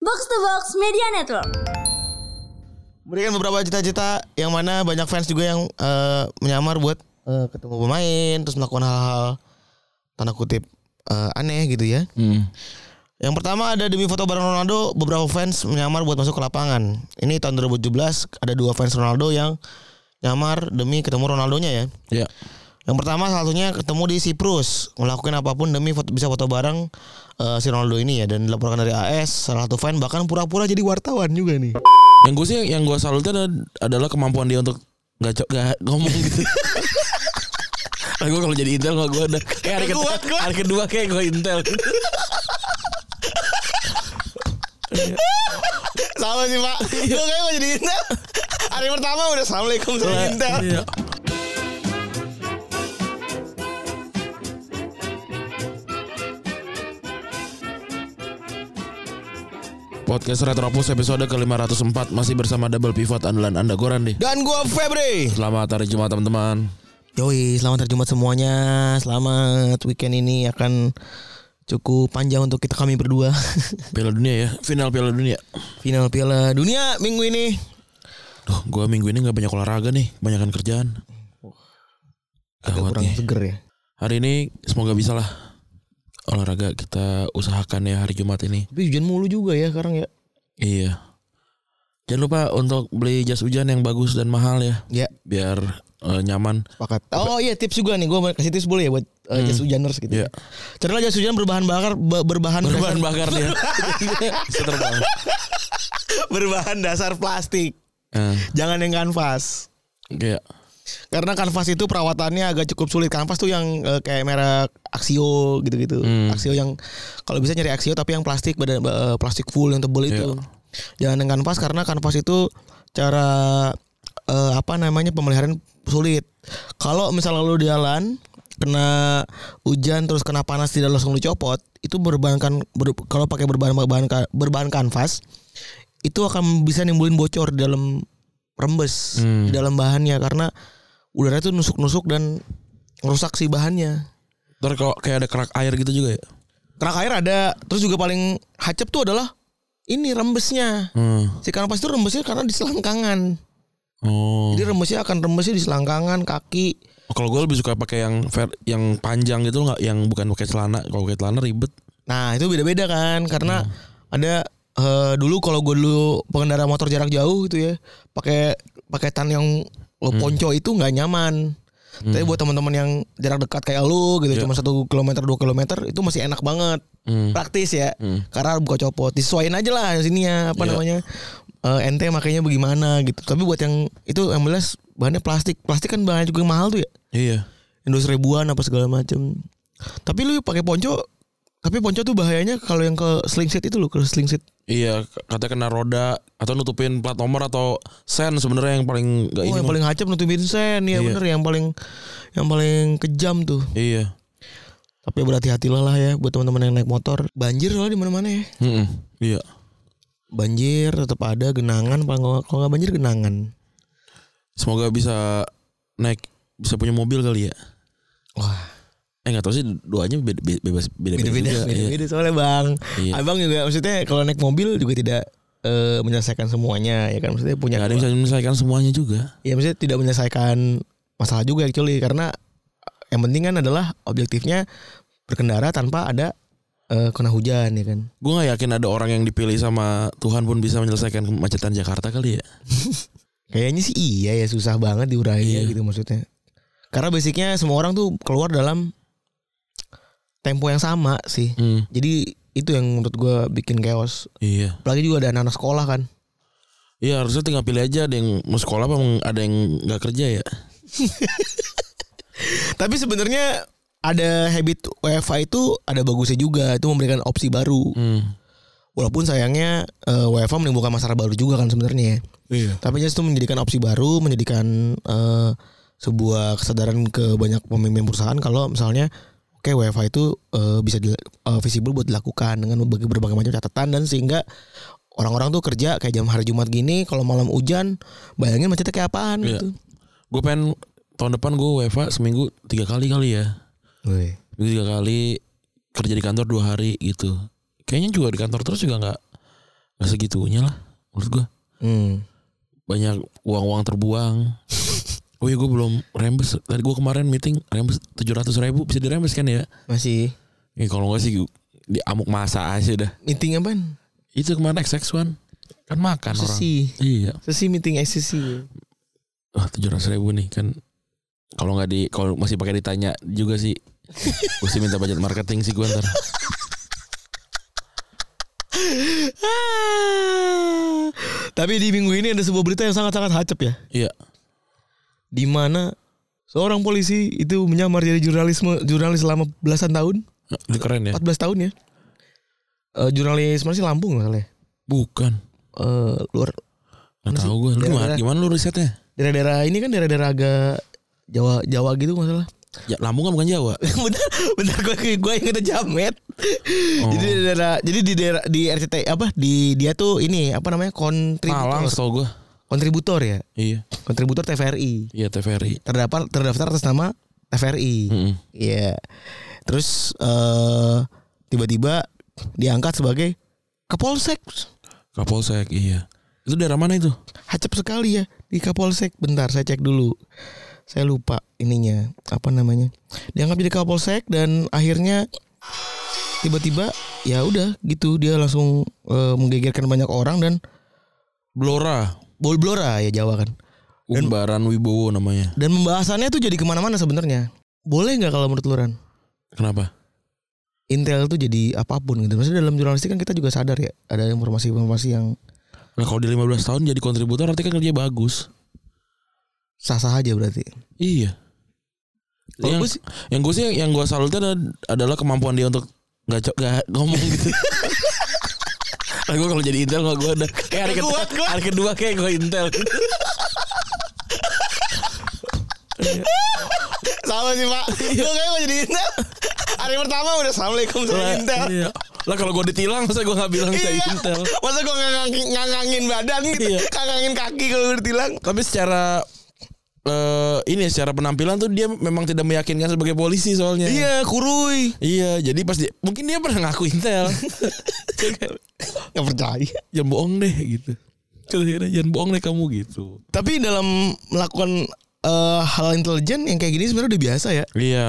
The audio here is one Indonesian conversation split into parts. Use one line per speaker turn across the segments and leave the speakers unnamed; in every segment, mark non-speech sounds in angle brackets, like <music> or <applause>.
Box to Box Media Network.
Berikan beberapa cita-cita yang mana banyak fans juga yang eh, menyamar buat eh, ketemu pemain terus melakukan hal-hal tanda kutip eh, aneh gitu ya.
Hmm,
Yang pertama ada demi foto bareng Ronaldo beberapa fans menyamar buat masuk ke lapangan. Ini tahun 2017 ada dua fans Ronaldo yang nyamar demi ketemu Ronaldonya ya.
Ya.
Yang pertama salah satunya ketemu di Siprus melakukan apapun demi foto, bisa foto bareng eh, si Ronaldo ini ya dan dilaporkan dari AS salah satu fan bahkan pura-pura jadi wartawan juga nih.
Yang gue sih yang gue salutin ada- adalah kemampuan dia untuk nggak co- nggak ngomong
<laughs>
gitu. Nah, gue kalau jadi intel nggak gue ada. Eh, hari, kedua,
Kuat gua.
hari kedua kayak gue intel.
Sama sih
<laughs>
Pak.
Iya.
Lu kayak mau jadi Intel. Hari pertama udah Assalamualaikum sama Intel.
Iya. Podcast Retropus episode ke-504 masih bersama Double Pivot andalan Anda Gorandi.
Dan gua Febri.
Selamat hari Jumat teman-teman.
Yoi, selamat hari Jumat semuanya. Selamat weekend ini akan cukup panjang untuk kita kami berdua. <laughs>
Piala Dunia ya, final Piala Dunia.
Final Piala Dunia minggu ini.
Duh, gua minggu ini nggak banyak olahraga nih, kebanyakan kerjaan.
Agak
Gawat
kurang
nih.
seger ya.
Hari ini semoga bisa lah olahraga kita usahakan ya hari Jumat ini.
Tapi hujan mulu juga ya sekarang ya.
Iya. Jangan lupa untuk beli jas hujan yang bagus dan mahal ya,
Ya,
biar eh,
<laughs>
nyaman.
sepakat. Oh iya tips juga nih, gua mau kasih tips boleh ya buat uh, jas hujaners gitu.
Iya.
Karena jas hujan berbahan bakar ba- berbahan
Berbahan bakar dia. <laughs> Bisa terbang.
<laughs> berbahan dasar plastik.
Eh,
Jangan yang kanvas.
kayak
Karena kanvas itu perawatannya agak cukup sulit. Kanvas tuh yang eh, kayak merek Axio gitu-gitu.
Hmm.
Axio yang kalau bisa nyari Axio tapi yang plastik badan eh, plastik full yang tebel itu. Jangan yang kanvas karena kanvas itu cara eh, apa namanya pemeliharaan sulit. Kalau misalnya lu di jalan kena hujan terus kena panas tidak langsung lu copot, itu berbahankan ber- kalau pakai berbahan berbahan berbahan kanvas itu akan bisa nimbulin bocor di dalam rembes
Hmm.
di dalam bahannya karena udara itu nusuk-nusuk dan ngerusak si bahannya.
Ntar kalau kayak ada kerak air gitu juga ya.
Kerak air ada, terus juga paling hacep tuh adalah ini rembesnya.
Hmm.
Si kanvas itu rembesnya karena di selangkangan.
Oh.
Jadi rembesnya akan rembesnya di selangkangan, kaki.
Kalau gue lebih suka pakai yang ver- yang panjang gitu nggak yang bukan pakai celana. Kalau pakai celana ribet.
Nah, itu beda-beda kan karena ada eh, dulu kalau gue dulu pengendara motor jarak jauh itu ya, pakai pakai tan yang lo ponco itu nggak nyaman.
Hmm.
Tapi buat teman-teman yang jarak dekat kayak lu gitu,
Iya.
cuma satu kilometer dua kilometer itu masih enak banget.
Hmm.
praktis ya
Hmm.
karena buka copot disesuaiin aja lah sini ya apa
Iya.
namanya Eh, ente makanya bagaimana gitu tapi buat yang itu yang jelas bahannya plastik plastik kan bahannya juga mahal tuh ya
Iya.
yang 200 ribuan apa segala macem tapi lu pakai ponco tapi ponco tuh bahayanya kalau yang ke sling seat itu loh ke sling seat
Iya, k- katanya kena roda atau nutupin plat nomor atau sen sebenarnya yang paling enggak
oh,
ini.
yang
mah.
paling hacep nutupin sen ya
Iya.
bener yang paling yang paling kejam tuh
Iya.
tapi berhati-hatilah lah ya buat teman-teman yang naik motor banjir lah di mana-mana ya
Mm-mm. Iya.
banjir tetap ada genangan apa nggak- kalau nggak banjir genangan
Semoga bisa naik bisa punya mobil kali ya.
wah
Eh nggak tahu sih duanya beda, be- bebas beda-beda.
beda-beda
juga, iya.
beda-beda soalnya bang
Iya.
abang juga maksudnya kalau naik mobil juga tidak eh, menyelesaikan semuanya ya kan maksudnya punya
Nggak ada yang bisa menyelesaikan semuanya juga.
ya maksudnya tidak menyelesaikan masalah juga actually karena yang penting kan adalah objektifnya berkendara tanpa ada eh, kena hujan ya kan
Gue nggak yakin ada orang yang dipilih sama Tuhan pun bisa menyelesaikan kemacetan Jakarta kali ya.
kayaknya sih iya ya susah banget diurainya
Iya.
gitu maksudnya karena basicnya semua orang tuh keluar dalam tempo yang sama sih
Hmm,
jadi itu yang menurut gue bikin chaos
iya.
apalagi juga ada anak-anak sekolah kan
Iya harusnya tinggal pilih aja ada yang mau sekolah apa mau- ada yang nggak kerja ya.
Tapi sebenarnya ada habit WFA itu ada bagusnya juga itu memberikan opsi baru.
Hmm.
Walaupun sayangnya eh, WFA menimbulkan masalah baru juga kan sebenarnya. ya.
Iya.
Tapi just itu menjadikan opsi baru, menjadikan eh, sebuah kesadaran ke banyak pemimpin perusahaan kalau misalnya oke WFA itu eh, bisa dila- eh, visible buat dilakukan dengan berbagai, berbagai macam catatan dan sehingga orang-orang tuh kerja kayak jam hari Jumat gini kalau malam hujan bayangin macetnya kayak apaan
Iya.
gitu.
Gue pengen tahun depan gue WFA seminggu tiga kali kali ya. Seminggu tiga kali kerja di kantor dua hari gitu. Kayaknya juga di kantor terus juga nggak Gak segitunya lah menurut gua.
Hmm.
Banyak uang-uang terbuang. oh iya gue belum rembes. Tadi gue kemarin meeting rembes 700 ribu bisa dirembes kan ya?
Masih
Ya kalau nggak sih gua- di amuk masa aja dah.
meeting apaan?
Itu kemarin XX1 kan makan Kan orang.
Sesi.
Iya.
Sesi meeting SCC.
Wah tujuh ribu nih kan kalau nggak di kalau masih pakai ditanya juga sih gue sih minta budget marketing sih gue ntar
Ah. Tapi di minggu ini ada sebuah berita yang sangat-sangat hacep ya.
iya
Di mana seorang polisi itu menyamar jadi jurnalisme jurnalis selama belasan tahun,
itu keren ya
14 tahun ya. Eh jurnalis mana sih Lampung misalnya?
bukan
Eh luar
nggak
Mana
tahu gue lu
Daerah-daerah.
gimana, gimana lu risetnya
daerah-daerah ini kan daerah-daerah agak Jawa Jawa gitu <laughs> masalah.
ya Lampung kan bukan Jawa
bener bener gue gue inget jamet
Oh.
jadi di daerah jadi di daerah di RCT apa di dia tuh ini apa namanya
Malang
kontributor
setahu gue
kontributor ya
iya
kontributor TVRI
iya TVRI
terdaftar terdaftar atas nama TVRI
Mm-mm.
iya terus eh, tiba-tiba diangkat sebagai Kapolsek
Kapolsek iya itu daerah mana itu
hacep sekali ya di Kapolsek bentar saya cek dulu saya lupa ininya apa namanya dianggap jadi Kapolsek dan akhirnya tiba-tiba ya udah gitu dia langsung eh, menggegerkan banyak orang dan
Blora
bol blora ya Jawa kan
Umbaran Wibowo namanya
dan pembahasannya tuh jadi kemana-mana sebenarnya boleh nggak kalau menurut Luran
kenapa
Intel tuh jadi apapun gitu maksudnya dalam jurnalistik kan kita juga sadar ya ada informasi-informasi yang
nah, kalau di 15 tahun jadi kontributor artinya kan kerja bagus
sah-sah aja berarti
Iya.
Kalau
yang,
gua sih-
yang gue sih yang gue salut ada- adalah kemampuan dia untuk nggak co- nggak ngomong
<laughs>
gitu. Nah, gue kalau jadi intel nggak gue ada. Kayak hari, kedua, hari kedua kayak gue intel.
sama sih
<laughs>
pak
Iya.
lo kayak mau jadi Intel hari pertama udah assalamualaikum
Lah, iya. Lah kalau gue ditilang masa gue nggak bilang saya
Iya.
intel.
Masa gue ngangangin, ngangangin badan gitu,
Iya.
ngangangin kaki kalau gue ditilang.
Tapi secara eh ini secara penampilan tuh dia memang tidak meyakinkan sebagai polisi soalnya.
Iya, kurui.
Iya, jadi pas dia, mungkin dia pernah ngaku intel.
<laughs> Gak percaya.
jangan bohong deh gitu. Kira-kira jangan bohong deh kamu gitu.
Tapi dalam melakukan eh, hal intelijen yang kayak gini sebenarnya udah biasa ya.
Iya,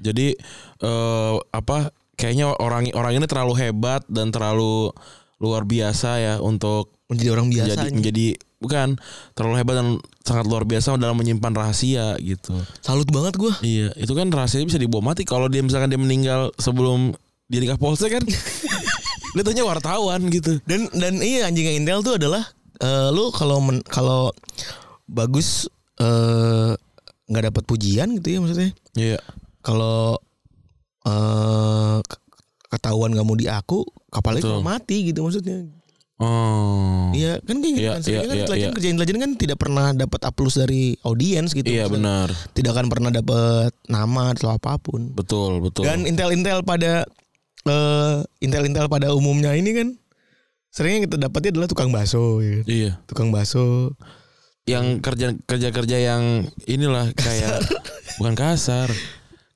jadi eh, apa? Kayaknya orang orang ini terlalu hebat dan terlalu luar biasa ya untuk
Menjadi orang biasa.
jadi
aja.
menjadi bukan terlalu hebat dan sangat luar biasa dalam menyimpan rahasia gitu.
Salut banget gue.
Iya, itu kan rahasianya bisa dibawa mati kalau dia misalkan dia meninggal sebelum dia nikah polsek <laughs> kan. dia tanya wartawan gitu.
Dan dan iya anjingnya Intel tuh adalah eh, lu kalau men- kalau bagus eh, nggak dapat pujian gitu ya maksudnya.
Iya.
Kalau eh ke- ketahuan gak mau diaku, kapalnya
Betul.
cuma mati gitu maksudnya.
Oh. Iya,
Iya kan kayak gitu
Iya,
kan. Sebenarnya
iya,
kan
iya,
intelijen,
iya.
kerja intelijen kan tidak pernah dapat aplaus dari audiens gitu. Maksudnya
Iya, benar.
Tidak akan pernah dapat nama atau apapun.
Betul, betul.
Dan intel-intel pada eh intel-intel pada umumnya ini kan seringnya kita dapatnya adalah tukang bakso ya. kan.
iya.
Tukang bakso.
yang kerja kerja kerja yang inilah kayak bukan kasar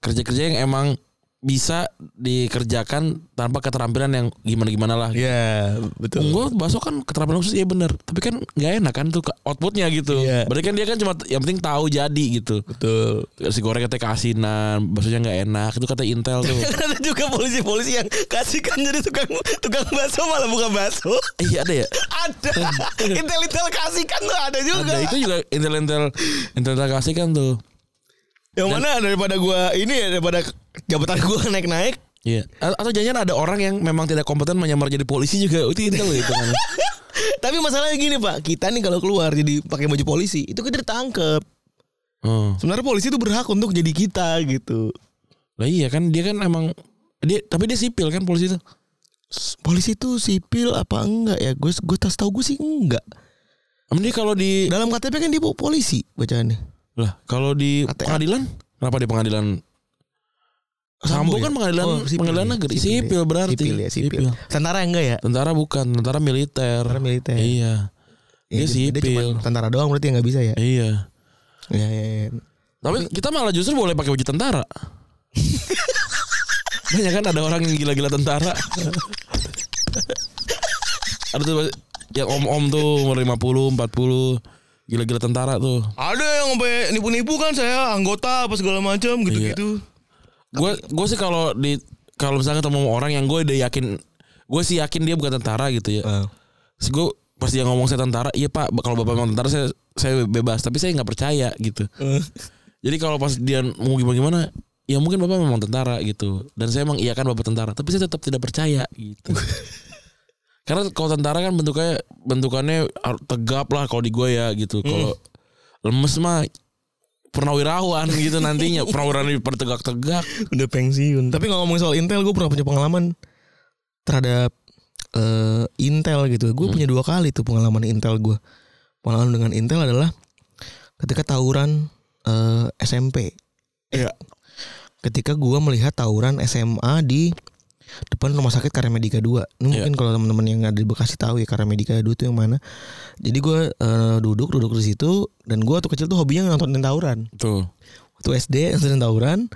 kerja kerja yang emang bisa dikerjakan tanpa keterampilan yang gimana gimana lah.
Ya, betul.
Gue bakso kan keterampilan khusus ya bener Tapi kan gak enak kan tuh ke- outputnya gitu
Iya.
Berarti kan dia kan cuma yang penting tahu jadi gitu
Betul.
Si goreng katanya keasinan Baksonya gak enak Itu kata Intel tuh
Ada juga polisi-polisi yang kasihkan jadi tukang tukang bakso malah bukan bakso.
<laughs> Iya ada ya
Ada. Intel-intel kasihkan tuh ada juga.
Ada itu juga Intel-Intel Intel-Intel kasih kan tuh
Yang mana daripada gua ini ya daripada jabatan gua <laughs> naik-naik
Iya A- Atau jangan ada orang yang memang tidak kompeten menyamar jadi polisi juga Itu Intel loh itu
Tapi masalahnya gini pak, kita nih kalau keluar jadi pakai baju polisi itu kita ditangkep.
Oh
Sebenarnya polisi itu berhak untuk jadi kita gitu.
Lah iya kan dia kan emang dia tapi dia sipil kan polisi itu.
S- Polisi itu sipil apa enggak ya? Gue gue tas tahu gue sih enggak.
Emang dia kalau di
Dalam KTP kan dia po- polisi bacaannya.
lah kalau di
ATM.
pengadilan kenapa di pengadilan Sambo kan pengadilan
Oh, sipil
pengadilan
ya,
negeri
sipil ya.
sipil, berarti.
Sipil ya sipil. Tentara enggak ya?
Tentara bukan, tentara militer.
Tentara militer.
Iya.
Ya,
Dia
dia cuma
sipil.
tentara doang berarti yang nggak bisa ya?
Iya.
Ya, ya, ya.
Tapi kita malah justru boleh pakai baju tentara. Banyak kan ada orang yang gila-gila tentara. Ada tuh yang om-om tuh umur 50, 40. Gila-gila tentara tuh.
Ada yang sampai nipu-nipu kan saya anggota apa segala macam
Iya.
gitu-gitu.
Gue gue sih kalau di kalau misalnya ketemu sama orang yang gue udah yakin gue sih yakin dia bukan tentara gitu ya. Terus gue pas dia ngomong saya tentara, iya pak kalau bapak memang tentara saya saya bebas tapi saya nggak percaya gitu. Jadi kalau pas dia mau gimana gimana, ya mungkin bapak memang tentara gitu. Dan saya emang iya kan bapak tentara, tapi saya tetap tidak percaya gitu. Karena kalau tentara kan bentuknya bentukannya har- tegap lah kalau di gue ya gitu. Kalau lemes mah purnawirawan gitu nantinya purnawirawan dipertegak-tegak.
Udah pensiun.
Tapi kalau ngomongin soal Intel, gue pernah punya pengalaman terhadap eh, Intel gitu. Gue
Hmm.
punya dua kali tuh pengalaman Intel gue. Pengalaman dengan Intel adalah ketika tawuran eh, SMP.
Iya.
Ketika gue melihat tawuran SMA di depan rumah sakit Karya Medika 2. Ini
Iya.
mungkin kalau teman-teman yang ada di Bekasi tahu ya Karya Medika 2 itu yang mana. Jadi gue eh, duduk duduk di situ dan gue waktu kecil tuh hobinya nontonin tawuran
Tuh.
waktu SD sering tawuran.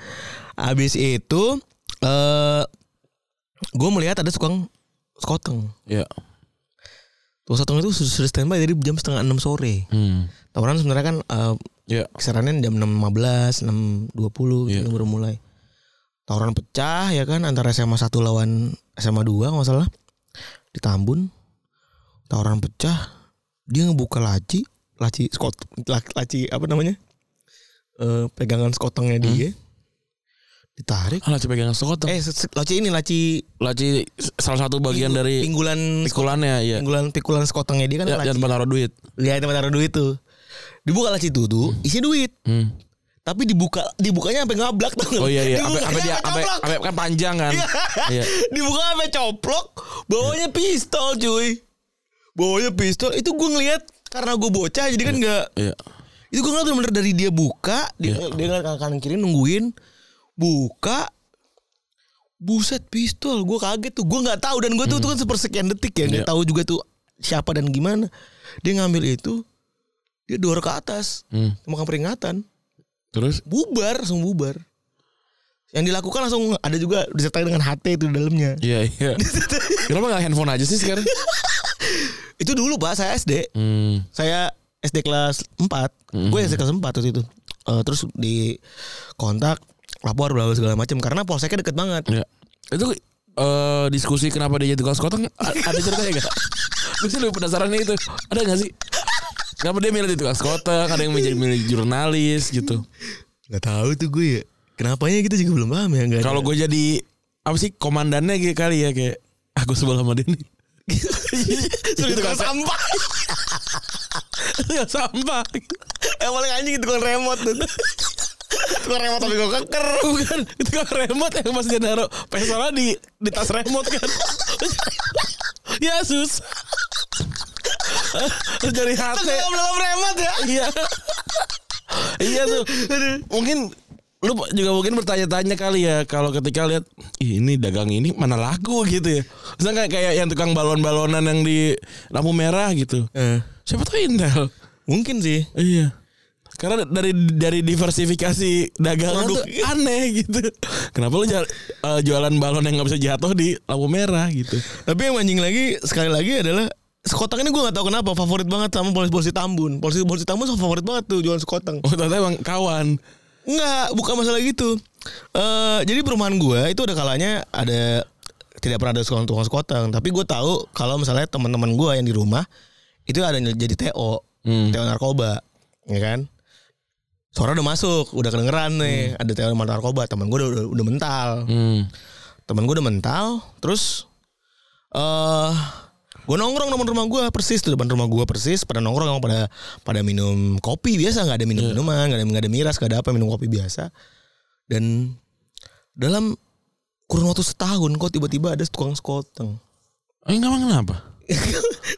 Abis itu eh gue melihat ada tukang sekoteng.
Ya.
Tukang sekoteng itu sudah sudah standby dari jam setengah enam sore.
Hmm.
Tawuran sebenarnya kan eh,
Ya.
kisarannya jam enam lima belas, enam dua puluh
Iya.
itu baru mulai. Tawuran pecah ya kan antara SMA 1 lawan SMA 2 nggak salah di Tambun. Tawuran pecah, dia ngebuka laci, laci skot, la- laci apa namanya? Eh, pegangan skotengnya
Hmm.
dia. Ditarik.
Ah, laci pegangan sekoteng.
Eh, se- se- laci ini laci
laci salah satu bagian dari
pinggulan
pikulannya ya.
pinggulan pikulan skotengnya dia kan
Ya,
laci.
jangan pernah naruh duit.
Lihat tempat taruh duit tuh. Dibuka laci itu tuh, isi duit.
Hmm.
Tapi dibuka dibukanya sampai ngablak tuh.
Oh iya iya, sampai
Dibukanya
sampai dia sampai
ngablak.
sampai kan panjang kan. Iya.
dibuka sampai coplok bawanya pistol cuy bawanya pistol itu gue ngeliat karena gue bocah jadi kan nggak
Iya.
itu gue ngeliat bener dari dia buka dia dia ngeliat kanan kanan kiri nungguin buka buset pistol gue kaget tuh gue nggak tahu dan gue tuh itu kan sepersekian detik ya nggak
Hmm. Iya.
tahu juga tuh siapa dan gimana dia ngambil itu dia dorong ke atas
Hmm.
makan peringatan
Terus
bubar langsung bubar yang dilakukan langsung ada juga disertai dengan HT itu di dalamnya
iya iya. <laughs> Kenapa enggak handphone aja sih sekarang?
itu dulu pak saya SD
Hmm.
saya SD kelas 4 gue SD kelas 4 waktu itu Eh, terus di kontak lapor bla bla segala macam karena polseknya deket banget
Ya. Itu eh diskusi kenapa dia jadi tukang sekoteng a- ada ceritanya <laughs> enggak? Gue sih lebih penasaran nih itu. Ada enggak sih? Kenapa dia milih jadi tukang sekoteng? Ada yang menjadi milih jurnalis gitu.
nggak tahu tuh gue ya kenapanya kita juga belum paham ya nggak ada-
Kalau gue jadi apa sih komandannya kayak kali ya kayak aku sebelah sama dia
<laughs>
nih.
Suruh tukang kan sampah
Ya <laughs> sampah.
yang paling anjing itu tukang remote tuh tukang remote tapi gue keker
Bukan itu kan remote yang pas dia naruh pistolnya di di tas remote kan. ya sus. Terus dari
Tuh
HT.
gue belum remote ya
Iya. iya tuh. Mungkin lu juga mungkin bertanya-tanya kali ya kalau ketika lihat "Ih, ini dagang ini mana laku gitu ya. Misalnya kayak, kayak yang tukang balon-balonan yang di lampu merah gitu.
Iya. Eh.
Siapa tahu Intel.
mungkin sih
Iya. Karena dari dari diversifikasi dagangan
Produk.
tuh aneh gitu. Kenapa lu jual- eh, jualan balon yang nggak bisa jatuh di lampu merah gitu?
Tapi yang anjing lagi sekali lagi adalah sekoteng ini gue gak tahu kenapa favorit banget sama polisi-polisi Tambun. Polisi-polisi Tambun favorit banget tuh jualan sekoteng.
Oh ternyata emang kawan.
Enggak, bukan masalah gitu. Eh jadi perumahan gue itu ada kalanya ada tidak pernah ada sekolah tukang sekoteng, tapi gue tahu kalau misalnya teman-teman gue yang di rumah itu ada yang jadi TO, TO narkoba, ya kan? Suara udah masuk, udah kedengeran nih, ada TO narkoba, teman gue udah, udah, udah mental
Hmm.
temen gue udah mental terus eh gue nongkrong depan rumah gue persis tuh depan rumah gue persis pada nongkrong emang pada pada minum kopi biasa nggak ada minum minuman nggak ada nggak ada miras nggak ada apa minum kopi biasa dan dalam kurun waktu setahun kok tiba-tiba ada tukang sekoteng <laughs>
Eh, emang kenapa?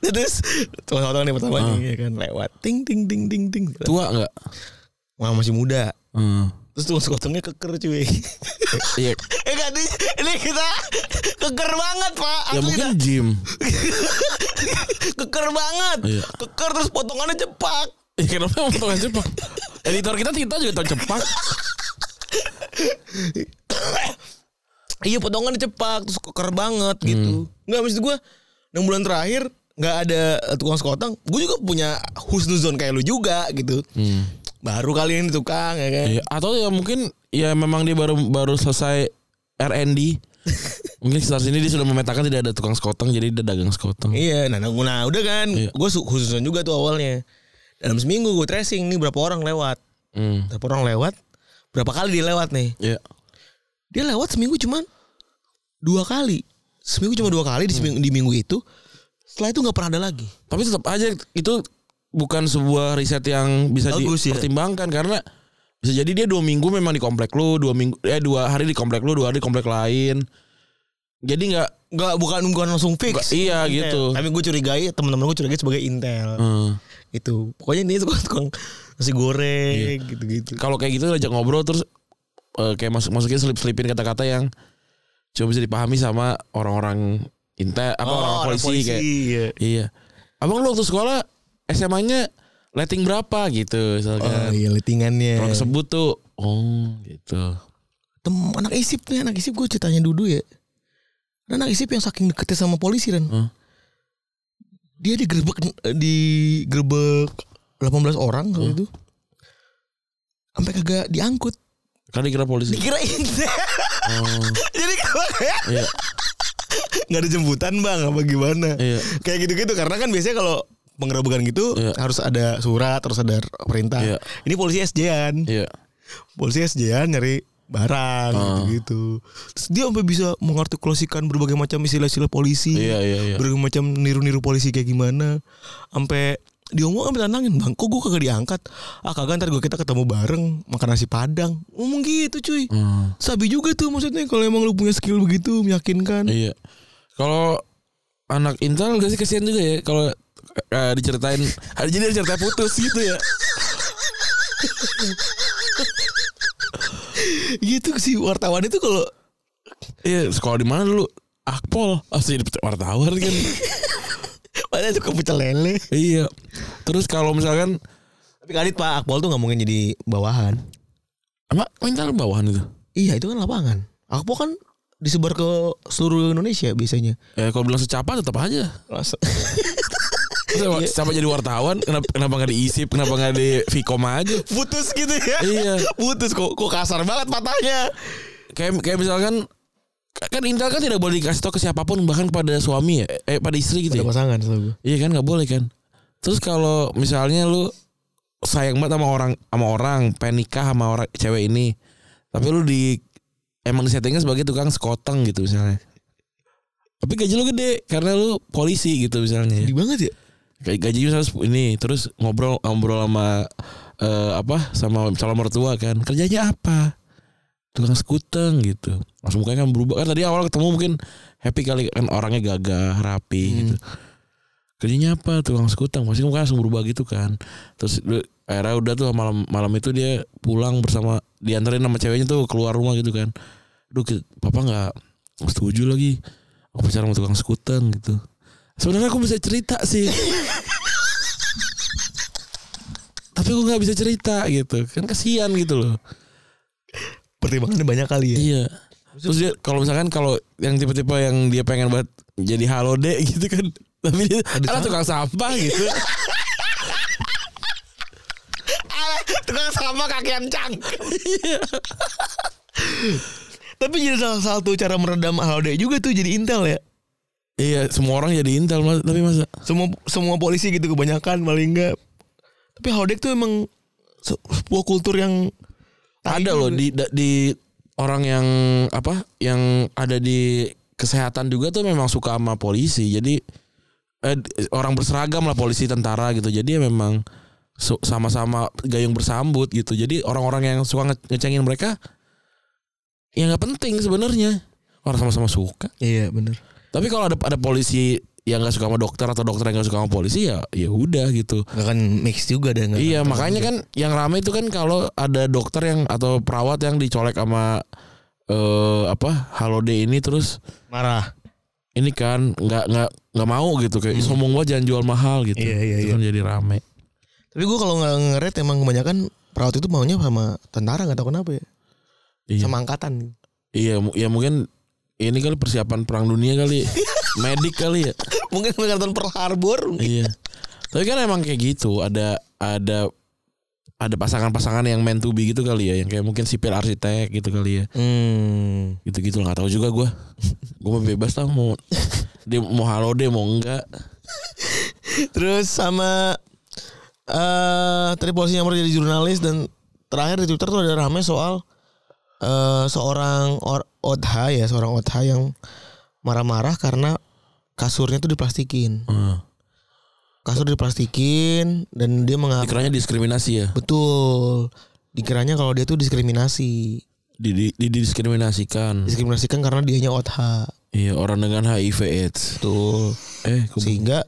terus tukang sekoteng nih pertama nih, ya kan lewat ting ting ting ting ting
Tua nggak?
Wah, masih muda
Hmm.
terus tukang sekotengnya keker cuy <laughs>
Iya.
eh kan ini- ini kita keker banget pak
Ya
Asli
mungkin gym.
keker banget
Iya.
keker terus potongannya cepak
Ya, kenapa emang tukang cepak? Editor kita Tita juga tukang cepak. Hmm.
iya potongannya cepak terus keker banget gitu nggak maksud gue enam bulan terakhir nggak ada tukang sekoteng gue juga punya husnuzon kayak lu juga gitu baru kali ini tukang ya kan
Hmm. Iya, atau ya mungkin ya memang dia baru baru selesai R&D. mungkin setelah sini dia sudah memetakan tidak ada tukang sekoteng jadi dia dagang sekoteng.
Iya, nah, nah, nah, udah kan,
Iya.
gue khususan juga tuh awalnya. Dalam seminggu gue tracing nih berapa orang lewat,
Hmm.
berapa orang lewat, berapa kali dia lewat nih.
Iya.
Dia lewat seminggu cuman dua kali, seminggu cuma dua kali di
Hmm.
seminggu, di minggu itu. Setelah itu nggak pernah ada lagi.
Tapi tetap aja itu bukan sebuah riset yang bisa
Bagus, ya.
dipertimbangkan karena bisa jadi dia dua minggu memang di komplek lu, dua minggu eh dua hari di komplek lu, dua hari di komplek lain. Jadi nggak
Nggak bukan bukan langsung fix.
Nggak- iya,
Intel.
gitu.
Tapi gue curigai teman-teman gue curigai sebagai intel.
eh,
Itu Gitu. pokoknya ini tukang tukang nasi goreng gitu-gitu.
kalau kayak gitu ajak ngobrol terus eh, kayak masuk masukin selip selipin kata-kata yang cuma bisa dipahami sama orang-orang intel apa orang,
Oh, orang
polisi, kayak
iya.
iya. Abang lu waktu sekolah SMA-nya letting berapa
Oh
gitu misalkan.
iya letingannya.
Kalau kesebut tuh oh gitu.
tem anak isip nih anak isip gue ceritanya Dudu ya Ada anak isip yang saking deketnya sama polisi kan
Hah?
dia digerebek eh, digerebek 18 orang kalau itu sampai kagak diangkut
Kan dikira
<laughs>
polisi.
dikirain
Oh,
jadi kalau kayak
iya,
nggak ada jemputan bang apa gimana
iya.
kayak gitu-gitu karena kan biasanya kalau penggerebekan gitu
Iya.
harus ada surat harus ada perintah
Iya.
ini polisi SJ-an
Iya.
polisi SJ-an nyari barang
Ah.
gitu-gitu. Terus dia sampai bisa mengartikulasikan berbagai macam istilah-istilah polisi.
Iya, iya, iya.
Berbagai macam niru-niru polisi kayak gimana. Sampai diomong sampai tanangin, "Bang, kok gue kagak diangkat? Ah, kagak ntar gue kita ketemu bareng makan nasi Padang." Ngomong gitu, cuy.
Hmm,
Sabi juga tuh maksudnya kalau emang lu punya skill begitu meyakinkan.
iya. Kalau anak Intel gak sih kasihan juga ya kalau eh, diceritain hari jadi cerita putus gitu ya.
Gitu sih wartawan itu kalau <laughs>
Iya, sekolah di mana dulu? Akpol. Asli jadi wartawan kan.
mana suka pecel lele.
iya. Terus kalau misalkan
Tapi kali Pak Akpol tuh nggak mungkin jadi bawahan.
apa Intel bawahan itu?
Iya, itu kan lapangan. Akpol kan disebar ke seluruh Indonesia biasanya.
Eh kalau bilang secapa tetap aja. <laughs>
Langsung. Iya.
Sama, sama jadi wartawan kenapa kenapa nggak diisip kenapa nggak di Vicom aja
putus gitu ya
Iya.
putus kok kok kasar banget patahnya
kayak kayak misalkan kan Intel kan tidak boleh dikasih tahu ke siapapun bahkan kepada suami ya eh pada istri gitu
ada
ya.
pasangan selalu
Iya kan nggak boleh kan. Terus kalau misalnya lu sayang banget sama orang sama orang pengen nikah sama orang cewek ini tapi lu di emang disettingnya sebagai tukang sekoteng gitu misalnya. Tapi gaji lu gede karena lu polisi gitu misalnya.
sedih banget ya
Gaji gajinya harus ini terus ngobrol ngobrol sama eh, apa sama calon mertua kan kerjanya apa tukang sekuteng gitu langsung mukanya kan berubah kan tadi awal ketemu mungkin happy kali kan orangnya gagah rapi gitu kerjanya apa tukang sekuteng pasti mukanya langsung berubah gitu kan terus lu- akhirnya udah tuh malam malam itu dia pulang bersama diantarin sama ceweknya tuh keluar rumah gitu kan Duh ki- papa nggak setuju lagi aku pacaran sama tukang sekuteng gitu sebenarnya aku bisa cerita sih tapi aku nggak bisa cerita gitu kan kasihan gitu loh
pertimbangannya banyak kali ya
iya terus dia kalau misalkan kalau yang tipe-tipe yang dia pengen buat jadi halode gitu kan tapi dia ada tukang sampah gitu
tukang sama kakian cang <laughs> tapi jadi salah satu cara meredam halde juga tuh jadi intel ya
<laughs> iya semua orang jadi intel Mas. tapi masa
semua semua polisi gitu kebanyakan paling enggak tapi halde tuh emang se- sebuah kultur yang
ada loh di da- di orang yang apa yang ada di kesehatan juga tuh memang suka sama polisi jadi eh, di- orang berseragam lah polisi tentara gitu jadi ya memang su- sama-sama gayung bersambut gitu jadi orang-orang yang suka nge- ngecengin mereka ya nggak penting sebenarnya orang sama-sama suka
iya bener
tapi kalau ada ada polisi yang nggak suka sama dokter atau dokter yang nggak suka sama polisi ya ya udah gitu
nggak kan mix juga ada nggak
Iya makanya kan yang rame itu kan kalau ada dokter yang atau perawat yang dicolek sama eh apa halode ini terus
marah
ini kan nggak nggak nggak mau gitu kayak "Ih, sombong banget jangan jual mahal gitu.
Hmm. Iya, iya,
itu
iya.
kan jadi rame.
Tapi gue kalau nggak ngeret emang kebanyakan perawat itu maunya sama tentara nggak tahu kenapa ya.
Iya.
Sama angkatan. <laughs>
Iya mu- ya mungkin ini kali persiapan perang dunia kali. medik kali ya
mungkin karton Pearl Harbor
iya tapi kan emang kayak gitu ada ada ada pasangan-pasangan yang meant to be gitu kali ya yang kayak mungkin sipil arsitek gitu kali ya
hmm.
gitu gitu nggak tahu juga <laughs> gua gua mau bebas lah mau dia mau halo deh mau enggak
terus sama eh tadi polisi yang jadi jurnalis dan terakhir di Twitter tuh ada rame soal eh seorang or, Odha ya seorang Odha yang marah-marah karena kasurnya tuh diplastikin
Heeh.
kasur diplastikin dan dia mengaku
dikiranya diskriminasi ya
betul dikiranya kalau dia tuh diskriminasi
Di- di- didiskriminasikan
diskriminasikan karena dianya Odha
iya orang dengan HIV AIDS
betul
eh kok
sehingga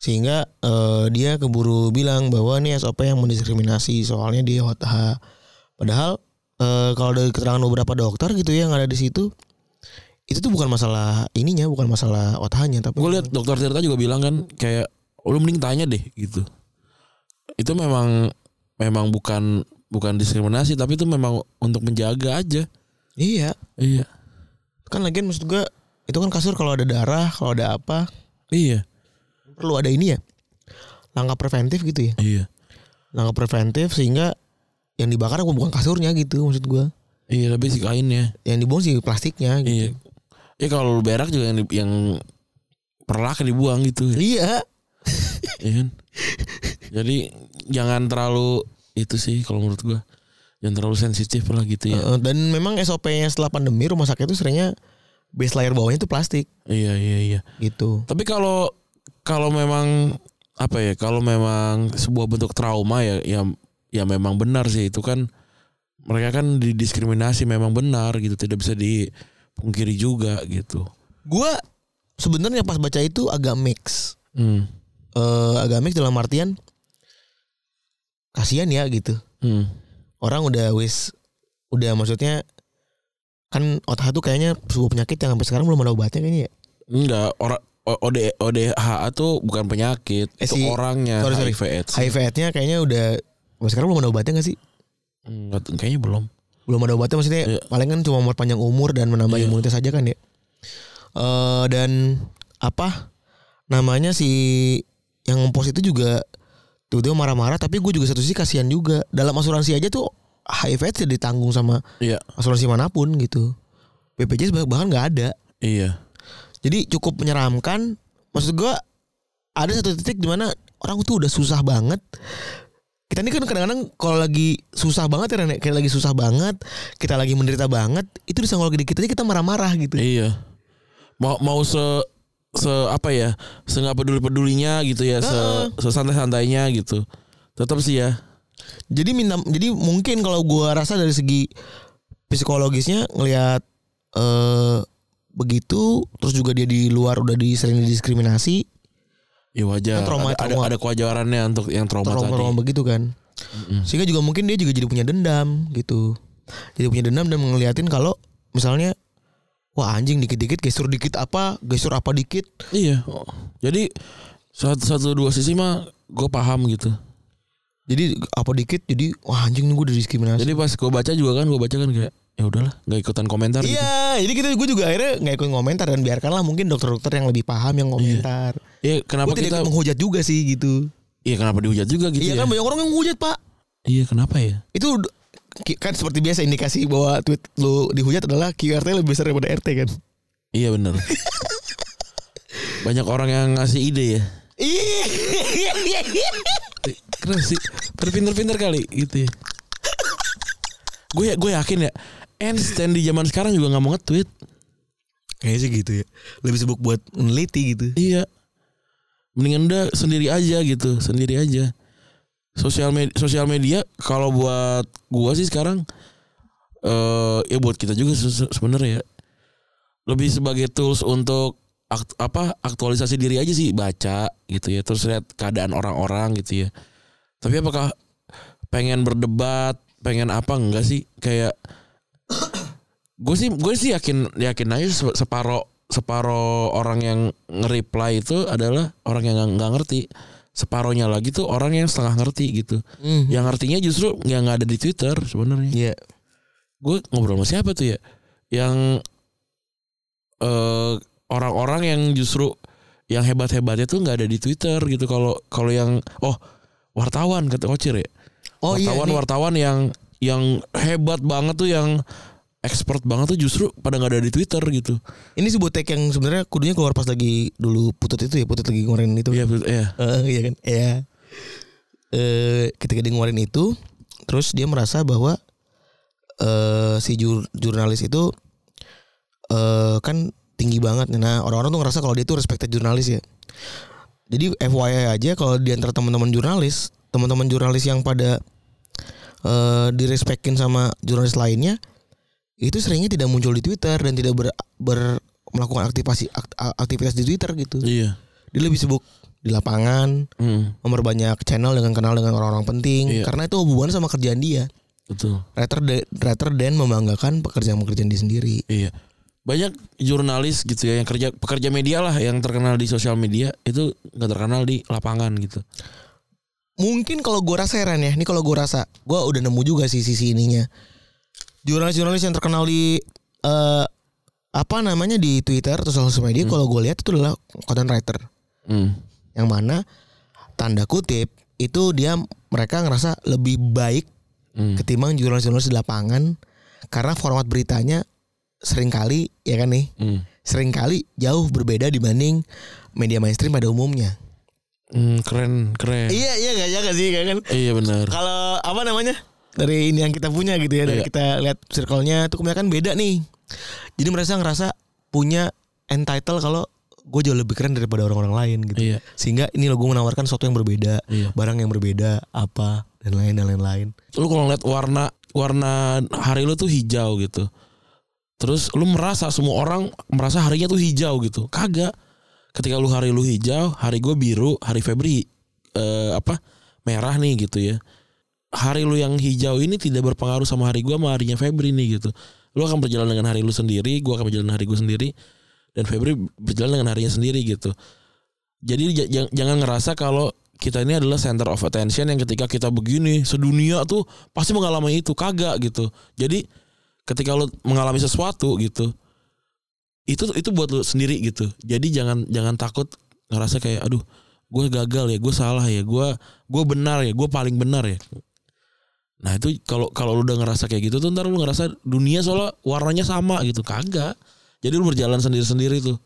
sehingga eh, dia keburu bilang bahwa ini SOP yang mendiskriminasi soalnya dia HOTH. Padahal eh, kalau dari keterangan beberapa dokter gitu ya yang ada di situ itu tuh bukan masalah ininya, bukan masalah OTH-nya tapi
gue lihat dokter Tirta juga bilang kan kayak "Oh, lu mending tanya deh gitu itu memang memang bukan bukan diskriminasi tapi itu memang untuk menjaga aja
iya,
iya
kan lagian maksud gua itu kan kasur kalau ada darah, kalau ada apa
iya
perlu ada ini ya. Langkah preventif gitu ya.
iya
Langkah preventif sehingga yang dibakar bukan kasurnya gitu maksud gua.
iya lebih sih kainnya
Yang dibuang sih plastiknya gitu.
iya ya kalau lu berak juga yang di- yang perlak dibuang gitu ya
Iya.
kan? jadi jangan terlalu itu sih kalau menurut gua jangan terlalu sensitif lah gitu ya
Heeh, dan memang SOP-nya setelah pandemi rumah sakit itu seringnya base layer bawahnya itu plastik
iya iya iya
gitu.
Tapi kalau kalau memang apa ya? Kalau memang sebuah bentuk trauma ya ya ya memang benar sih itu kan mereka kan didiskriminasi memang benar gitu tidak bisa dipungkiri juga gitu.
Gua sebenarnya pas baca itu agak mix.
Hmm.
Eh agak mix dalam artian kasihan ya gitu.
Hmm.
Orang udah wis udah maksudnya kan otak itu kayaknya sebuah penyakit yang sampai sekarang belum ada obatnya kayaknya ya.
Enggak orang OD ODHA tuh bukan penyakit,
Eh,
itu
si-
orangnya
sorry, sorry.
HIV AIDS.
HIV-nya kayaknya udah sampai sekarang belum ada obatnya gak sih?
Enggak, kayaknya belum.
belum ada obatnya maksudnya
Iya.
paling kan cuma memperpanjang umur dan menambah
Iya.
imunitas aja kan ya Eh dan apa namanya si yang ngepost itu juga tiba-tiba marah-marah tapi gue juga satu sisi kasihan juga dalam asuransi aja tuh HIV AIDS tidak ditanggung sama
Iya,
asuransi manapun gitu BPJS bah- bahkan nggak ada
iya.
jadi cukup menyeramkan maksud gue ada satu titik dimana orang tuh udah susah banget kita ini kan kadang-kadang kalau lagi susah banget ya Ren, ya, kayak lagi susah banget kita lagi menderita banget itu disenggol dikit aja kita marah-marah gitu
Iya. Mau mau se se apa ya? Se nggak peduli-pedulinya gitu ya, se se santai-santainya gitu. Tetap sih ya.
jadi minta jadi mungkin kalau gua rasa dari segi psikologisnya ngelihat eh begitu terus juga dia di luar udah di sering didiskriminasi
Ya
Kan
wajar.
trauma-
ada, ada
trauma.
ada kewajarannya untuk yang trauma,
trauma trauma
tadi.
begitu kan sehingga juga mungkin dia juga jadi punya dendam gitu jadi punya dendam dan ngeliatin kalau misalnya wah anjing dikit-dikit gestur dikit apa gestur apa dikit
Iya. Jadi satu satu dua sisi mah gue paham gitu.
jadi apa dikit jadi wah anjing nih gue udah diskriminasi
Jadi pas gue baca juga kan gue baca kan kayak ya udahlah nggak ikutan komentar gitu.
iya jadi kita gue juga akhirnya nggak ikut komentar dan biarkanlah mungkin dokter-dokter yang lebih paham yang komentar
Iya kenapa
gue tidak
kita?
ikut menghujat juga sih gitu
Iya kenapa dihujat juga gitu?
iya kan
ya?
banyak orang yang menghujat pak
Iya kenapa ya?
itu d- ki- kan seperti biasa indikasi bahwa tweet lu dihujat adalah QRT lebih besar daripada RT kan
Iya
<laughs>
benar. Banyak orang yang ngasih ide ya. <laughs>
Ih.
Eh, Keren sih. Terpinter-pinter kali gitu ya. Gue gue yakin ya. Einstein di zaman sekarang juga nggak mau nge-tweet.
Kayaknya sih gitu ya. Lebih sibuk buat meneliti gitu.
Iya. Mendingan udah sendiri aja gitu, sendiri aja. Sosial media, sosial media kalau buat gua sih sekarang eh ya buat kita juga se- se- sebenarnya ya. Lebih sebagai tools untuk akt- apa aktualisasi diri aja sih baca gitu ya terus lihat keadaan orang-orang gitu ya tapi apakah pengen berdebat pengen apa enggak sih kayak gue sih gue sih yakin yakin aja se- separo separo orang yang nge-reply itu adalah orang yang nggak- nggak ngerti separohnya lagi tuh orang yang setengah ngerti gitu yang artinya justru yang nggak ada di twitter sebenarnya
Iya.
gue ngobrol sama siapa tuh ya yang eh orang-orang yang justru yang hebat-hebatnya tuh nggak ada di Twitter gitu kalau kalau yang oh wartawan kata Kocir ya.
Oh iya,
wartawan
ini-
wartawan yang yang hebat banget tuh yang expert banget tuh justru pada nggak ada di Twitter gitu.
Ini si botek yang sebenarnya kudunya keluar pas lagi dulu putut itu ya, putut lagi ngeluarin itu.
Iya betul- iya.
Eh, iya kan? Iya. Eh, ketika dia ngeluarin itu, terus dia merasa bahwa eh si jur- jurnalis itu eh kan tinggi banget. Nah, orang-orang tuh ngerasa kalau dia tuh respected jurnalis ya. Jadi FYI aja kalau di antara teman-teman jurnalis, teman-teman jurnalis yang pada eh direspekin sama jurnalis lainnya itu seringnya tidak muncul di Twitter dan tidak ber, ber- melakukan aktivasi akt- aktivitas di Twitter gitu
Iya.
dia lebih sibuk di lapangan
Hmm,
memperbanyak channel dengan kenal dengan orang-orang penting
Iya.
karena itu hubungan sama kerjaan dia
betul.
rather than, rather than membanggakan pekerjaan-pekerjaan dia sendiri
Iya. Banyak jurnalis gitu ya yang kerja pekerja media lah yang terkenal di sosial media itu nggak terkenal di lapangan gitu.
mungkin kalau gua rasa heran ya ini kalau gua rasa gua udah nemu juga sih sisi ininya jurnalis-jurnalis yang terkenal di eh, apa namanya di Twitter atau sosial media kalau gua lihat itu adalah content writer
Hmm.
yang mana tanda kutip itu dia mereka ngerasa lebih baik
Hmm.
ketimbang jurnalis-jurnalis di lapangan karena format beritanya seringkali ya kan nih
Hmm.
seringkali jauh berbeda dibanding media mainstream pada umumnya
Hmm, keren keren.
iya iya gak ya gak sih kan
Iya benar.
kalau apa namanya dari ini yang kita punya gitu ya dari
Iya.
kita lihat circle-nya itu kebanyakan beda nih jadi merasa ngerasa punya entitle kalau gue jauh lebih keren daripada orang-orang lain gitu
Iya.
sehingga ini logo menawarkan sesuatu yang berbeda
Iya.
barang yang berbeda apa dan lain dan lain-lain
Lu kalau ngeliat warna warna hari lu tuh hijau gitu. Terus lu merasa semua orang merasa harinya tuh hijau gitu. Kagak. Ketika lu hari lu hijau, hari gue biru, hari Febri eh, apa merah nih gitu ya. Hari lu yang hijau ini tidak berpengaruh sama hari gue sama harinya Febri nih gitu. Lu akan berjalan dengan hari lu sendiri, gue akan berjalan dengan hari gue sendiri, dan Febri berjalan dengan harinya sendiri gitu. Jadi j- jang- jangan ngerasa kalau kita ini adalah center of attention yang ketika kita begini sedunia tuh pasti mengalami itu kagak gitu. Jadi ketika lo mengalami sesuatu gitu itu itu buat lo sendiri gitu. Jadi jangan jangan takut ngerasa kayak aduh gue gagal ya, gue salah ya, gue gue benar ya, gue paling benar ya. Nah itu kalau kalau lu udah ngerasa kayak gitu tuh ntar lu ngerasa dunia soalnya warnanya sama gitu kagak. Jadi lu berjalan sendiri-sendiri tuh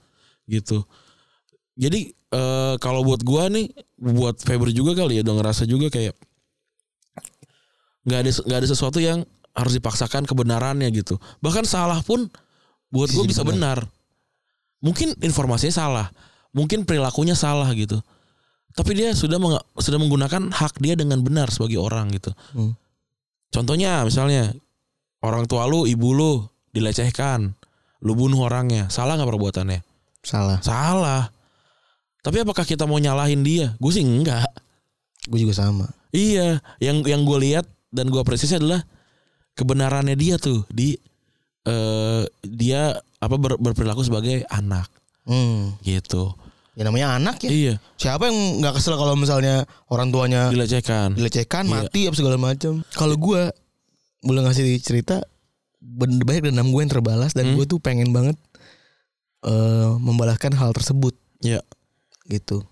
gitu jadi eh, kalau buat gua nih buat Faber juga kali ya udah ngerasa juga kayak nggak ada nggak ada sesuatu yang harus dipaksakan kebenarannya gitu bahkan salah pun buat gua
Bisa
bisa benar mungkin informasinya salah mungkin perilakunya salah gitu tapi dia sudah meng- sudah menggunakan hak dia dengan benar sebagai orang gitu
Hmm.
contohnya misalnya orang tua lu ibu lu dilecehkan lu bunuh orangnya salah nggak perbuatannya
salah
Salah. Tapi apakah kita mau nyalahin dia? Gue sih enggak.
gue juga sama
Iya, yang yang gue lihat dan gue apresiasi adalah kebenarannya dia tuh di eh dia apa ber- berperilaku sebagai anak
hmm.
gitu.
ya namanya anak ya
Iya,
siapa yang nggak kesel kalau misalnya orang tuanya
dilecehkan.
dilecehkan
Iya.
mati apa segala macam kalau gua boleh ngasih cerita ben- banyak dendam gue yang terbalas dan
Hmm.
gue tuh pengen banget eh, membalaskan hal tersebut
Iya.
gitu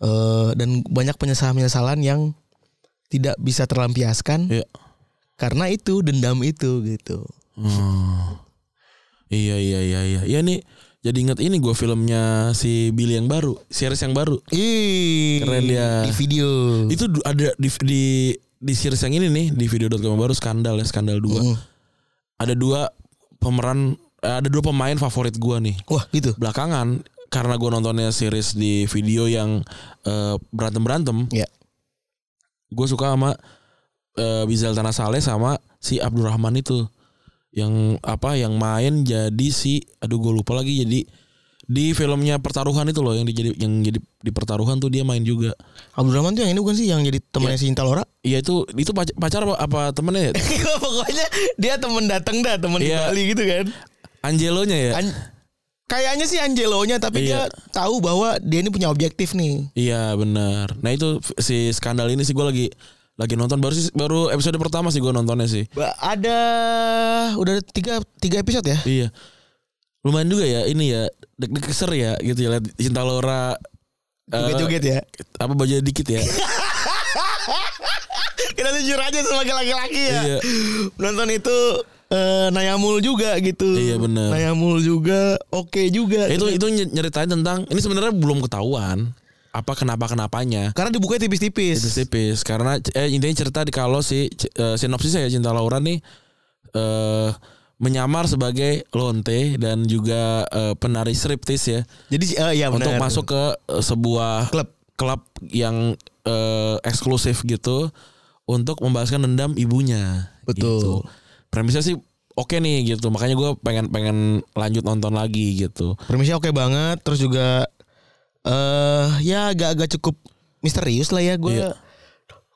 Eh, dan banyak penyesalan penyesalan yang tidak bisa terlampiaskan
Iya.
karena itu dendam itu gitu
Hmm. Iya iya iya iya. Ya nih jadi inget ini gue filmnya si Billy yang baru, series yang baru.
Ih,
Keren dia.
di video
Itu du- ada di di di series yang ini nih di video.com baru skandal ya skandal 2.
Mm.
ada dua pemeran eh, ada dua pemain favorit gua nih
wah gitu
belakangan karena gua nontonnya series di video yang berantem berantem
Iya.
gue suka sama eh, Bizal Tanah Saleh sama si Abdurrahman itu yang apa yang main jadi si aduh gue lupa lagi jadi di filmnya pertaruhan itu loh yang dijadi yang jadi di pertaruhan tuh dia main juga
Abdurrahman tuh yang ini bukan sih yang jadi temannya si Inta <laughs> Lora
Iya itu itu pac- pacar apa, apa temennya ya?
Eh, Iya, pokoknya dia temen datang dah temen di
Iya.
Bali gitu kan
Angelonya ya
An- kayaknya sih Angelonya tapi
Iya.
dia tahu bahwa dia ini punya objektif nih.
Iya benar. Nah itu f- si skandal ini sih gue lagi lagi nonton baru sih- baru episode pertama sih gue nontonnya sih.
Ba- ada udah ada tiga tiga episode ya.
Iya. lumayan juga ya ini ya deg-deg keser ya gitu ya lihat Cinta Laura eh,
Joget-joget ya.
apa bajunya dikit ya
Kita jujur aja sebagai laki-laki ya.
Iya.
Nonton itu eh, Nayamul juga gitu.
Iya, bener.
Nayamul juga, oke juga.
Nah,
gitu.
itu itu ny- nyeritain tentang ini sebenarnya belum ketahuan apa kenapa kenapanya
karena dibukanya tipis-tipis.
tipis-tipis karena eh, intinya cerita di kalau si c- eh, sinopsisnya ya cinta Laura nih eh menyamar sebagai lonte dan juga eh, penari striptease ya
Jadi eh, ya
untuk
bener.
masuk ke eh, sebuah
Klub.
klub yang eh, eksklusif gitu untuk membahaskan dendam ibunya
Betul.
gitu. premisnya sih oke nih gitu makanya gue pengen pengen lanjut nonton lagi gitu
Premisnya oke banget, terus juga eh ya agak-agak cukup misterius lah ya gue.
Iya.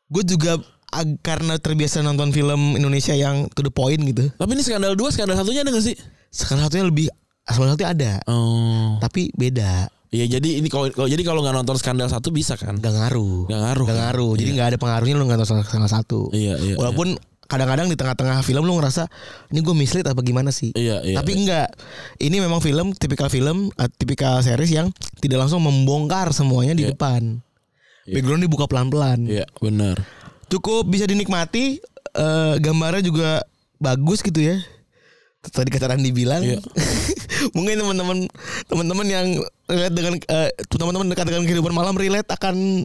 Gue juga ag- karena terbiasa nonton film Indonesia yang to the point gitu.
tapi ini skandal dua skandal satunya ada gak sih
Sekarang satunya lebih sekarang satunya ada,
oh
tapi beda.
ya jadi ini kalau kalau- jadi kalau nggak nonton skandal satu bisa kan
Gak ngaruh.
Nggak ngaruh. ya?
Nggak ngaruh. Jadi nggak ada pengaruhnya lu nggak nonton salah satu.
Iya, iya,
Walaupun kadang-kadang di tengah-tengah film lu ngerasa ini gue mislead apa gimana sih?
Iya, iya.
Tapi enggak. Ini memang film tipikal film, eh, tipikal series yang tidak langsung membongkar semuanya di depan. Background dibuka pelan-pelan.
Iya, benar.
Cukup bisa dinikmati. eh, gambarnya juga bagus gitu ya. Tadi kata Randi bilang.
Iya.
<laughs> Mungkin teman-teman teman-teman yang relate dengan eh, teman-teman dekat dengan kehidupan malam relate akan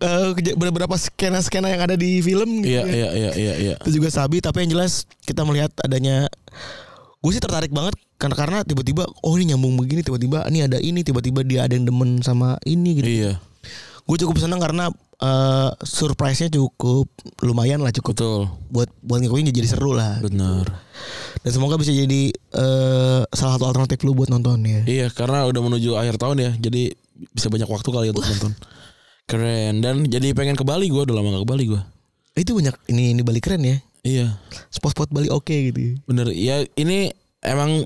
eh, keja- beberapa skena-skena yang ada di film gitu.
Iya,
ya.
iya, iya, iya, iya.
Itu juga sabi tapi yang jelas kita melihat adanya gue sih tertarik banget karena karena tiba-tiba oh ini nyambung begini tiba-tiba ini ada ini tiba-tiba dia ada yang demen sama ini gitu.
Iya,
Gue cukup senang karena eh, surprise-nya cukup lumayan lah cukup
betul.
buat buat ngikutin jadi seru lah.
Benar.
Dan semoga bisa jadi eh, salah satu alternatif lu buat nonton ya.
Iya, karena udah menuju akhir tahun ya. Jadi bisa banyak waktu kali ya untuk nonton. Keren. Dan jadi pengen ke Bali gua udah lama gak ke Bali gua.
Itu banyak ini ini Bali keren ya.
Iya.
Spot-spot Bali oke gitu.
Bener. Ya ini emang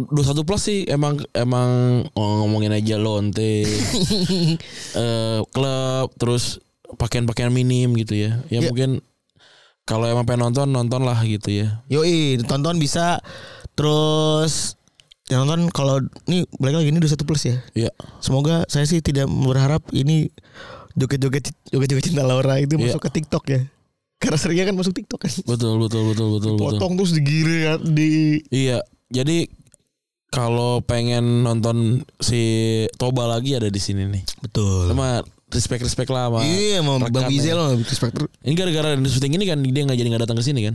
21 plus sih emang emang oh, ngomongin aja <laughs> lonte eh klub terus pakaian-pakaian minim gitu ya. Ya
Iya.
mungkin kalau emang pengen nonton nonton lah gitu ya.
Yoi, tonton bisa terus yang nonton kalau ini balik lagi ini 21 plus ya.
Iya.
Semoga saya sih tidak berharap ini joget-joget joget-joget cinta Laura itu
Iya.
masuk ke TikTok ya. Karena seringnya kan masuk TikTok kan.
Betul betul betul betul betul.
Potong terus digiring ya, di
Iya, jadi kalau pengen nonton si Toba lagi ada di sini nih.
betul.
Sama respect respect lah sama.
Iya, sama Bang
rekannya.
Bizel sama respect terus.
Ini gara-gara di syuting ini kan dia nggak jadi nggak datang ke sini kan?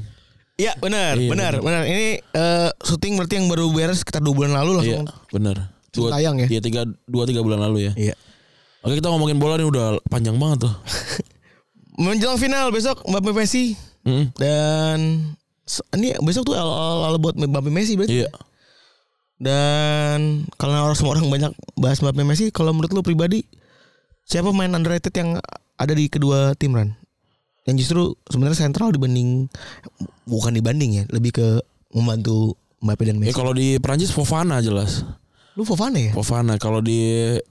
Iya benar,
Iya,
benar, benar. Ini eh, syuting berarti yang baru beres sekitar dua bulan lalu
Iya,
langsung.
bener.
Oh,
Dua,
Tayang ya?
Iya tiga dua tiga bulan lalu ya.
Iya.
Oke kita ngomongin bola nih udah panjang banget tuh.
Menjelang final besok Mbappe Messi
Mm-mm.
dan se- ini besok tuh all, all- all buat Mbappe Messi berarti.
Iya.
Dan kalau orang semua orang banyak bahas Mbappe Messi, kalau menurut lu pribadi siapa main underrated yang ada di kedua tim Ran? Yang justru sebenarnya sentral dibanding bukan dibanding ya, lebih ke membantu Mbappe dan
Ya
Messi.
kalau di Prancis Fofana jelas.
lu Fofana ya?
Fofana kalau di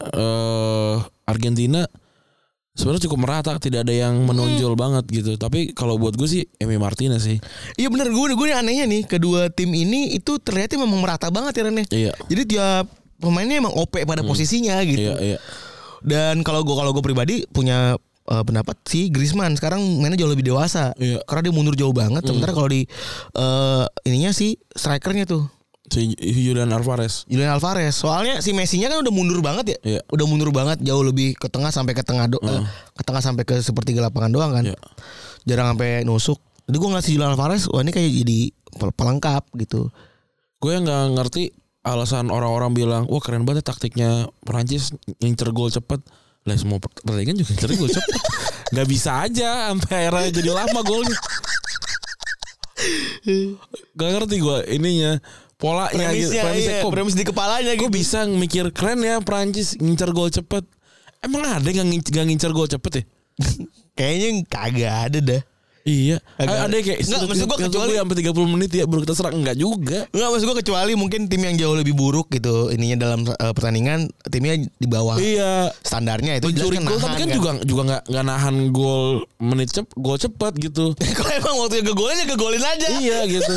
eh, Argentina sebenarnya cukup merata tidak ada yang menonjol banget gitu tapi kalau buat gue sih Emi Martinez sih
Iya bener gue gue anehnya nih kedua tim ini itu ternyata memang merata banget ya Ren ya.
Iya.
Jadi tiap pemainnya emang OP pada posisinya gitu.
Iya, iya.
Dan kalau gue kalau gue pribadi punya eh, pendapat si Griezmann sekarang mainnya jauh lebih dewasa.
Iya.
Karena dia mundur jauh banget. Sementara kalau di eh, ininya si strikernya tuh
Si Julian Alvarez.
Julian Alvarez. Soalnya si Messi-nya kan udah mundur banget ya.
Iya.
Udah mundur banget jauh lebih ke tengah sampai ke tengah do- eh, ke tengah sampai ke sepertiga lapangan doang kan.
Iya.
Jarang sampai nusuk. Jadi gue ngeliat si Julian Alvarez wah ini kayak jadi pel- pelengkap gitu.
Gue yang nggak ngerti alasan orang-orang bilang, wah keren banget ya taktiknya Perancis ngincer gol cepet. Lah semua per- pertandingan juga ngincer gol
<laughs>
cepet. Gak bisa aja sampai akhirnya jadi lama golnya. Gak ngerti gue ininya polanya gitu. Premisnya, kok,
iya. di kepalanya gitu.
kok bisa mikir keren ya Perancis ngincer gol cepet. Emang ada yang ngincer, nggak ngincer gol cepet ya?
Kayaknya kagak ada dah.
Iya.
Agak-
ada yang kayak
Nggak, maksud gua kecuali-
kecuali sampai 30 menit ya baru kita serang enggak juga.
Enggak maksud gue kecuali mungkin tim yang jauh lebih buruk gitu ininya dalam eh, pertandingan timnya di bawah
Iya.
standarnya itu jelas
Pencuri
kan
gol
nahan
tapi kan, juga juga nggak nggak nahan gol menit
<laughs>
cep gol cepat gitu.
ya Iya. kalau emang waktu yang kegolnya kegolin aja
iya gitu.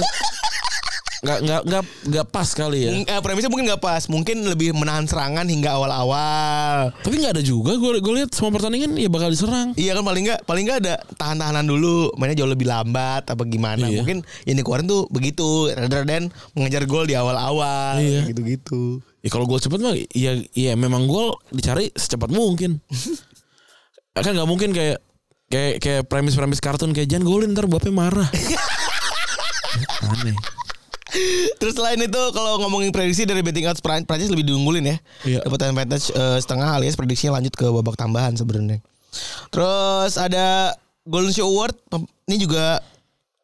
nggak nggak nggak nggak pas kali ya.
Mung- eh, premisnya mungkin nggak pas, mungkin lebih menahan serangan hingga awal-awal.
Tapi nggak ada juga. Gue gue lihat semua pertandingan ya bakal diserang.
Iya kan paling nggak paling nggak ada tahan-tahanan dulu, mainnya jauh lebih lambat apa gimana.
Iya.
Mungkin yang dikeluarin tuh begitu, rather than mengejar gol di awal-awal
Iya.
gitu-gitu.
Ya kalau gol cepet mah ya ya memang gol dicari
<laughs>
secepat mungkin. kan nggak mungkin kayak kayak kayak premis-premis kartun kayak jangan golin ntar bapaknya
<laughs>
marah. Aneh.
Terus selain itu kalau ngomongin prediksi dari betting odds Pran- Prancis lebih diunggulin ya.
Iya.
Dapat advantage eh, setengah alias prediksinya lanjut ke babak tambahan sebenarnya. Terus ada Golden Shoe Award Pem- ini juga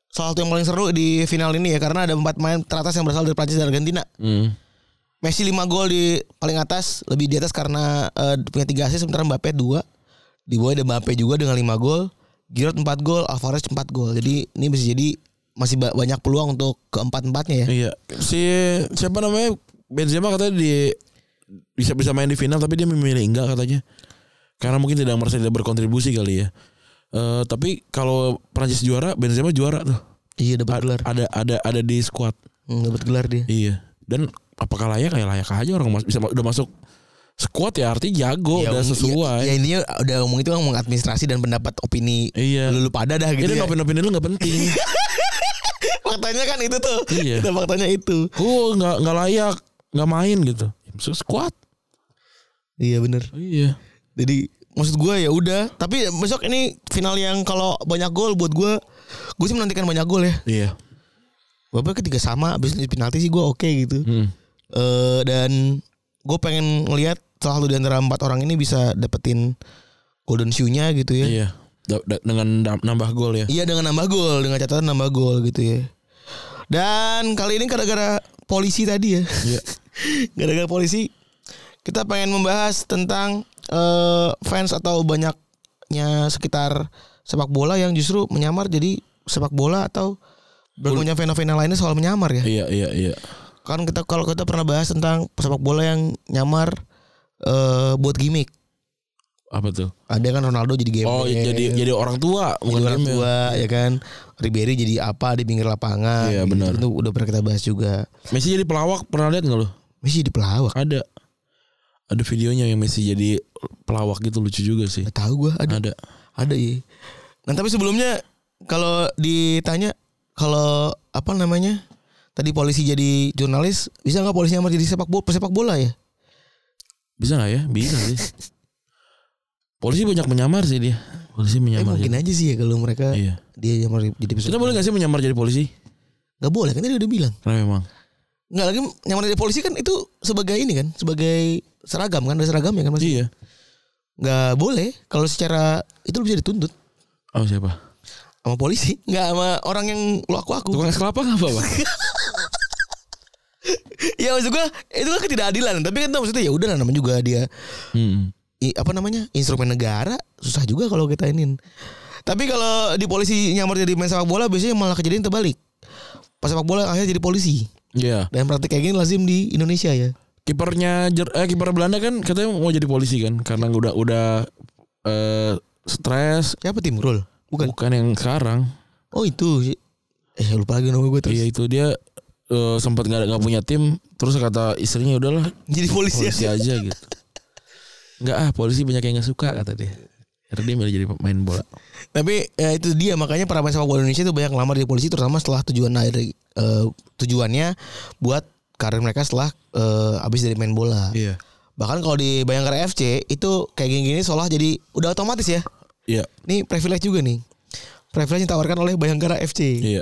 salah satu yang paling seru di final ini ya karena ada empat pemain teratas yang berasal dari Prancis dan Argentina.
Hmm.
Messi 5 gol di paling atas, lebih di atas karena eh, punya 3 assist sementara Mbappe 2. Di bawah ada Mbappe juga dengan 5 gol, Giroud 4 gol, Alvarez 4 gol. Jadi ini bisa jadi masih ba- banyak peluang untuk keempat-empatnya ya.
Iya. Si siapa namanya Benzema katanya di bisa bisa main di final tapi dia memilih enggak katanya. Karena mungkin tidak merasa tidak berkontribusi kali ya. Eh tapi kalau Prancis juara, Benzema juara tuh.
Iya dapat
A-
gelar.
ada ada ada di squad.
Hmm, dapat gelar dia.
Iya. Dan apakah layak ya layak aja orang mas- bisa ma- udah masuk squad ya artinya jago udah
um- Ya,
sesuai.
ya intinya udah ngomong itu kan ngomong administrasi dan pendapat opini. <laughs>
Iya.
Lulu pada dah gitu.
Jadi
Ya,
opini-opini lu gak
<laughs>
penting.
faktanya kan itu tuh.
Iya.
Itu faktanya itu.
Oh nggak nggak layak nggak main gitu. Ya, Masuk squad.
Iya bener
Iya.
Jadi maksud gue ya udah. Tapi besok ini final yang kalau banyak gol buat gue, gue sih menantikan banyak gol ya.
Iya.
Babak ketiga sama, abis itu penalti sih gue oke gitu.
Hmm.
Eh, dan gue pengen ngelihat salah satu di antara empat orang ini bisa dapetin golden shoe-nya gitu ya.
Iya. Da- da- dengan dam- nambah gol ya.
Iya dengan nambah gol Dengan catatan nambah gol gitu ya Dan kali ini gara-gara polisi tadi ya <laughs>
Iya.
Gara-gara polisi Kita pengen membahas tentang eh, Fans atau banyaknya sekitar sepak bola yang justru menyamar jadi sepak bola atau berpunya fenomena lainnya soal menyamar ya.
Iya iya iya.
Kan kita kalau kita pernah bahas tentang sepak bola yang nyamar eh, buat gimmick.
Apa tuh?
Ada kan Ronaldo jadi game.
Oh jadi jadi orang tua
Bukan
bukan
iya. orang
game ya?
tua ya kan Ribery jadi apa di pinggir lapangan gitu.
Iya, benar.
itu udah pernah kita bahas juga
Messi jadi pelawak pernah lihat nggak lu?
Messi di pelawak
Ada. Ada videonya yang Messi jadi pelawak gitu lucu juga sih.
nggak tahu gue ada
Ada.
ada ya nah tapi sebelumnya kalau ditanya kalau apa namanya tadi polisi jadi jurnalis bisa nggak polisi nyamar jadi sepak bola pesepak bola ya
Bisa nggak ya? Bisa sih. Polisi banyak menyamar sih dia. Polisi
eh,
menyamar.
mungkin
jadi-
aja sih ya kalau mereka
Iya.
dia nyamar jadi pesepak
Kita boleh nggak sih menyamar jadi polisi?
nggak boleh kan tadi udah bilang
Karena memang.
nggak lagi nyamar jadi polisi kan itu sebagai ini kan sebagai seragam kan ada seragamnya kan masih
Iya.
nggak boleh kalau secara itu lu bisa dituntut
Oh siapa?
sama polisi <laughs> nggak sama orang yang lu aku aku
Tukang es kelapa nggak apa-apa?
<laughs> ya maksud gua itu kan ketidakadilan tapi kan maksudnya ya udah lah, namanya juga dia
Hmm.
i- apa namanya instrumen negara susah juga kalau kita inin tapi kalau di polisi nyamar jadi main sepak bola biasanya malah kejadian terbalik pas sepak bola akhirnya jadi polisi
Iya.
dan praktik kayak gini lazim di Indonesia ya
kipernya Jer- eh kiper Belanda kan katanya mau jadi polisi kan karena udah udah eh stres
siapa Timrul
bukan.
bukan
yang sekarang
oh itu eh lupa lagi nama gue terus <laughs>
iya itu dia eh, sempat nggak nggak punya tim terus kata istrinya udahlah
jadi polisi,
polisi
aja.
aja gitu nggak ah polisi banyak yang nggak suka kata dia Akhirnya dia milih jadi pemain bola
Tapi ya itu dia makanya para pemain sepak bola Indonesia itu banyak lamar di polisi terutama setelah tujuan akhir eh, tujuannya buat karir mereka setelah eh, habis dari main bola.
iya
Bahkan kalau di Bayangkara FC itu kayak gini-gini seolah jadi udah otomatis ya.
iya
Ini privilege juga nih. Privilege yang ditawarkan oleh Bayangkara FC.
iya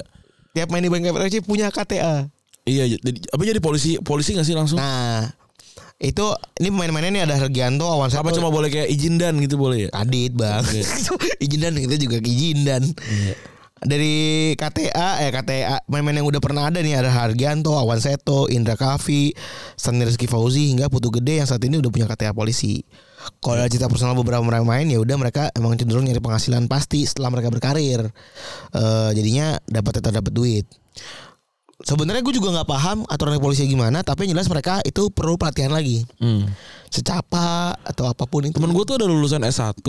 Tiap main di Bayangkara FC punya KTA.
iya jadi, apa jadi polisi polisi nggak sih langsung
Nah, itu ini pemain-pemainnya ini ada Hergianto, Awan
apa
Sato,
cuma boleh kayak izin dan gitu boleh ya
Kadit bang <laughs> Izin dan kita juga izin dan Dari KTA eh KTA main-main yang udah pernah ada nih ada Hargianto, Awan Seto, Indra Kavi, Sanir Rizky Fauzi hingga Putu Gede yang saat ini udah punya KTA polisi. Kalau ada cerita personal beberapa pemain ya udah mereka emang cenderung nyari penghasilan pasti setelah mereka berkarir. Eh, jadinya dapat tetap dapat duit. Sebenarnya gue juga nggak paham aturan polisi gimana, tapi yang jelas mereka itu perlu pelatihan lagi.
Hmm.
Secapa atau apapun itu
temen gue tuh ada lulusan S1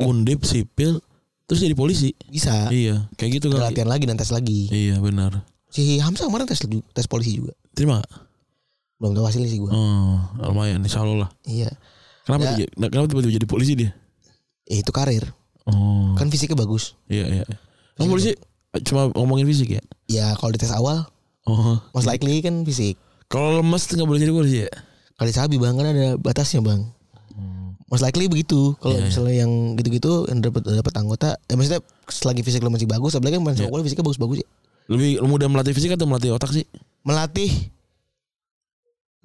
undip sipil terus jadi polisi
bisa.
iya kayak gitu kan
latihan lagi dan tes lagi.
Iya benar.
si Hamsa kemarin tes ju- tes polisi juga
Terima gak?
belum tahu hasilnya sih gue
Oh, lumayan insya Allah lah.
iya
Kenapa,
Nah. Ya.
dia- kenapa tiba-tiba jadi polisi dia?
Eh, itu karir
Oh,
kan fisiknya bagus
iya iya. Kamu polisi eh, cuma ngomongin fisik ya?
ya kalau di tes awal
Oh,
most likely kan fisik
kalau lemes tuh nggak boleh jadi polisi ya?
kali sabi bang kan ada batasnya bang
Hmm.
most likely begitu
Iya,
kalau misalnya yang gitu-gitu yang dapat dapat anggota ya maksudnya selagi fisik lo masih bagus apalagi kan
Iya.
main sepak bola fisiknya bagus-bagus ya
Lebih mudah melatih fisik atau melatih otak sih?
melatih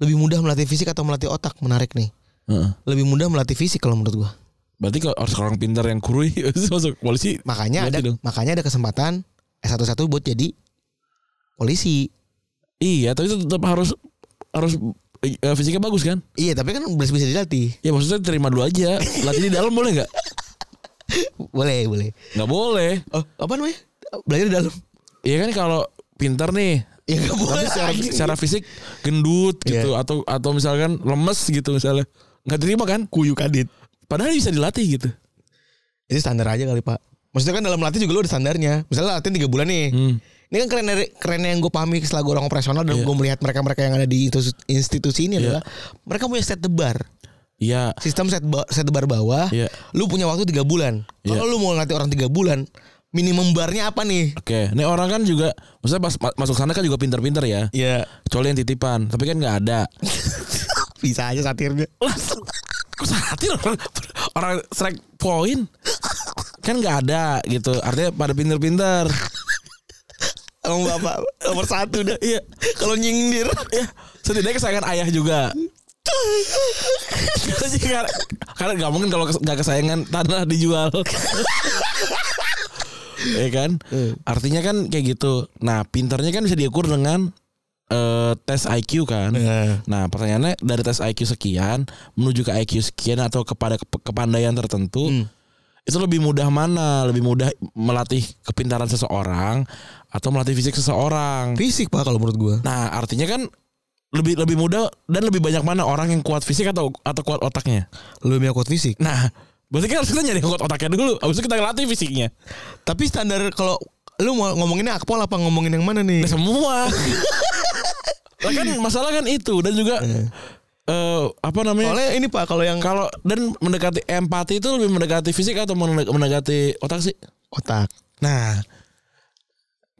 lebih mudah melatih fisik atau melatih otak menarik nih
Heeh.
lebih mudah melatih fisik kalau menurut gua
Berarti kalau harus orang pintar yang kurui <laughs> masuk polisi.
makanya
Berarti
ada
dong.
makanya ada kesempatan S11 buat jadi polisi
Iya, tapi itu tetap harus harus eh, fisiknya bagus kan?
iya tapi kan bisa bisa dilatih
Ya maksudnya terima dulu aja. Latih di dalam boleh nggak?
boleh boleh
Nggak boleh.
oh apa namanya belajar di dalam
Iya kan kalau pintar nih
ya nggak boleh
tapi secara,
anjing. Iya.
secara fisik gendut gitu atau atau misalkan lemes gitu misalnya nggak terima kan
kuyu kadit
padahal bisa dilatih gitu
itu standar aja kali pak maksudnya kan dalam latih juga lo ada standarnya misalnya latihan tiga bulan nih
Hmm.
ini kan keren dari kerennya yang gue pahami setelah gue orang operasional
Iya.
dan gue melihat mereka mereka yang ada di institusi, institusi ini adalah mereka punya set debar
iya
sistem set ba- set debar bawah
Iya.
lu punya waktu tiga bulan
Iya.
kalau lu mau ngelatih orang tiga bulan minimum barnya apa nih
oke nih orang kan juga maksudnya pas ma- masuk sana kan juga pintar-pintar ya
ya
kecuali yang titipan tapi kan nggak ada
bisa aja satirnya
kok satir orang orang strike point kan nggak ada gitu artinya pada pintar-pintar
Emang bapak nomor satu dah
iya
kalau nyindir
ya setidaknya kesayangan ayah juga karena karena nggak mungkin kalau kes- nggak kesayangan tanah dijual ya kan artinya kan kayak gitu nah pinternya kan bisa diukur dengan eh, tes IQ kan
Iya.
nah pertanyaannya dari tes IQ sekian menuju ke IQ sekian atau kepada kep- kepandaian tertentu
Hmm.
itu lebih mudah mana lebih mudah melatih kepintaran seseorang atau melatih fisik seseorang
fisik pak kalau menurut gue
Nah, artinya kan lebih lebih mudah dan lebih banyak mana orang yang kuat fisik atau atau kuat otaknya.
lu punya kuat fisik
Nah, berarti kan harus kita nyari yang kuat otaknya dulu. Habis itu kita ngelatih fisiknya.
tapi standar kalau lu mau ngomonginnya akpol apa ngomongin yang mana nih
Nah, semua. Lah kan masalah kan itu dan juga eh apa namanya?
Soalnya ini Pak kalau yang
kalau dan mendekati empati itu lebih mendekati fisik atau mendek- mendekati otak sih?
otak.
Nah,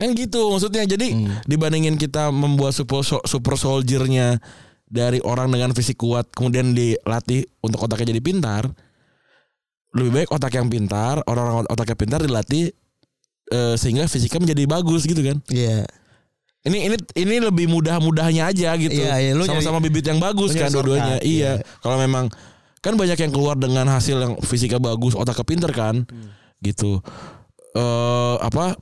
kan gitu maksudnya. Jadi dibandingin kita membuat super so- super soldiernya dari orang dengan fisik kuat kemudian dilatih untuk otaknya jadi pintar, lebih baik otak yang pintar, orang-orang ot- otaknya pintar dilatih eh, sehingga fisiknya menjadi bagus gitu kan.
Iya.
Ini ini ini lebih mudah-mudahnya aja gitu.
Iya, iya, lu
Sama-sama bibit yang bagus
lu
kan
nyari
dua-duanya.
shortcut,
Iya. Kalau memang kan banyak yang keluar dengan hasil yang fisika bagus, otaknya pinter kan.
Hmm.
Gitu. Eh apa?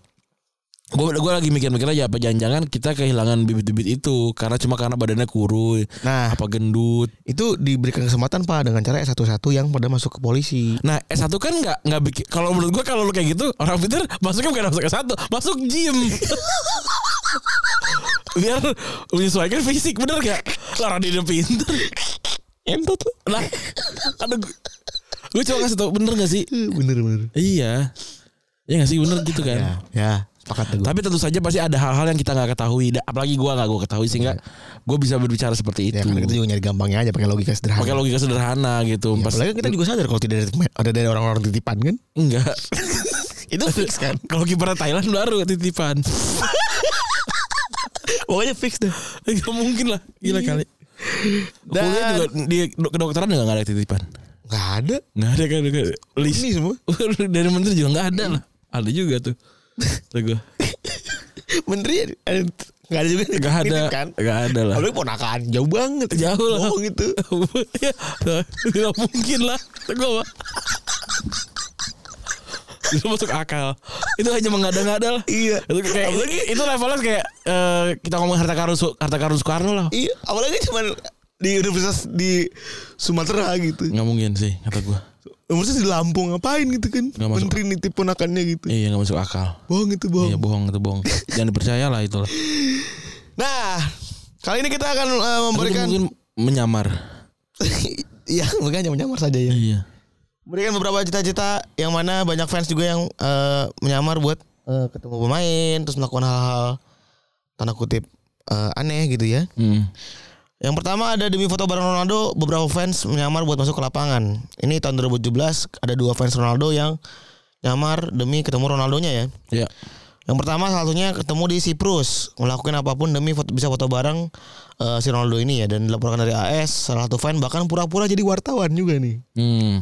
Gue gue lagi mikir-mikir aja apa jangan-jangan kita kehilangan bibit-bibit itu karena cuma karena badannya kurus,
Nah,
apa gendut.
itu diberikan kesempatan Pak dengan cara S11 yang pada masuk ke polisi.
Nah S1 kan nggak nggak bikin kalau menurut gua kalau lu kayak gitu orang pinter masuknya bukan masuk S1 masuk <laughs> gym biar menyesuaikan fisik bener gak Lara dia udah pinter entot lu. lah aduh gue coba kasih tau bener gak sih
Bener bener.
iya ya gak sih bener gitu kan
Ya, ya sepakat tuh.
tapi tentu saja pasti ada hal-hal yang kita nggak ketahui Da- apalagi gua nggak gua ketahui sehingga gua bisa berbicara seperti
ya
itu
kan kita juga nyari gampangnya aja pakai logika sederhana.
pakai logika sederhana gitu
Ya,
Pas-
apalagi kita juga sadar kalau tidak ada- ada dari orang-orang titipan kan.
enggak
<laughs> Itu fix kan.
kalau kiper Thailand baru titipan <laughs>
Pokoknya fix deh.
Eh, Gak mungkin lah Gila kali
Iya. Dan-
Kuliah juga Di do- kedokteran juga gak ada titipan
Enggak ada.
Gak ada kan kan. <laughs> List
Ini semua.
Dari menteri juga gak ada lah Ada juga tuh Tuh
<laughs>
gue
Menteri ada- enggak ada juga.
Gak ada
Nitip kan.
Gak ada lah
Apalagi ponakan jauh banget. Oh, gitu.
Jauh lah
Bohong itu.
<laughs> Ya, Gak mungkin lah Gue
<laughs>
mah itu masuk akal itu hanya mengada-ngada lah
Iya.
itu kayak itu levelnya kayak eh, kita ngomong harta karun Su- harta karun Soekarno lah
Iya, apalagi cuman di universitas di Sumatera gitu.
nggak mungkin sih kata gue
Universitas di Lampung ngapain gitu kan?
Nggak masuk.
Menteri nitip ponakannya gitu.
iya nggak masuk akal
Bohong itu bohong.
Iya bohong itu bohong. Jangan dipercaya lah itu lah.
Nah, kali ini kita akan eh, memberikan
mungkin menyamar.
<laughs> ya bukan hanya menyamar saja ya.
Iya.
Memberikan beberapa cita-cita yang mana banyak fans juga yang eh, menyamar buat eh, ketemu pemain terus melakukan hal-hal tanda kutip eh, aneh gitu ya.
Hmm.
Yang pertama ada demi foto bareng Ronaldo, beberapa fans menyamar buat masuk ke lapangan. Ini tahun 2017 ada dua fans Ronaldo yang nyamar demi ketemu Ronaldonya ya.
Ya.
Yang pertama salah satunya ketemu di Siprus, melakukan apapun demi foto, bisa foto bareng eh, si Ronaldo ini ya dan dilaporkan dari AS, salah satu fan bahkan pura-pura jadi wartawan juga nih.
Hmm.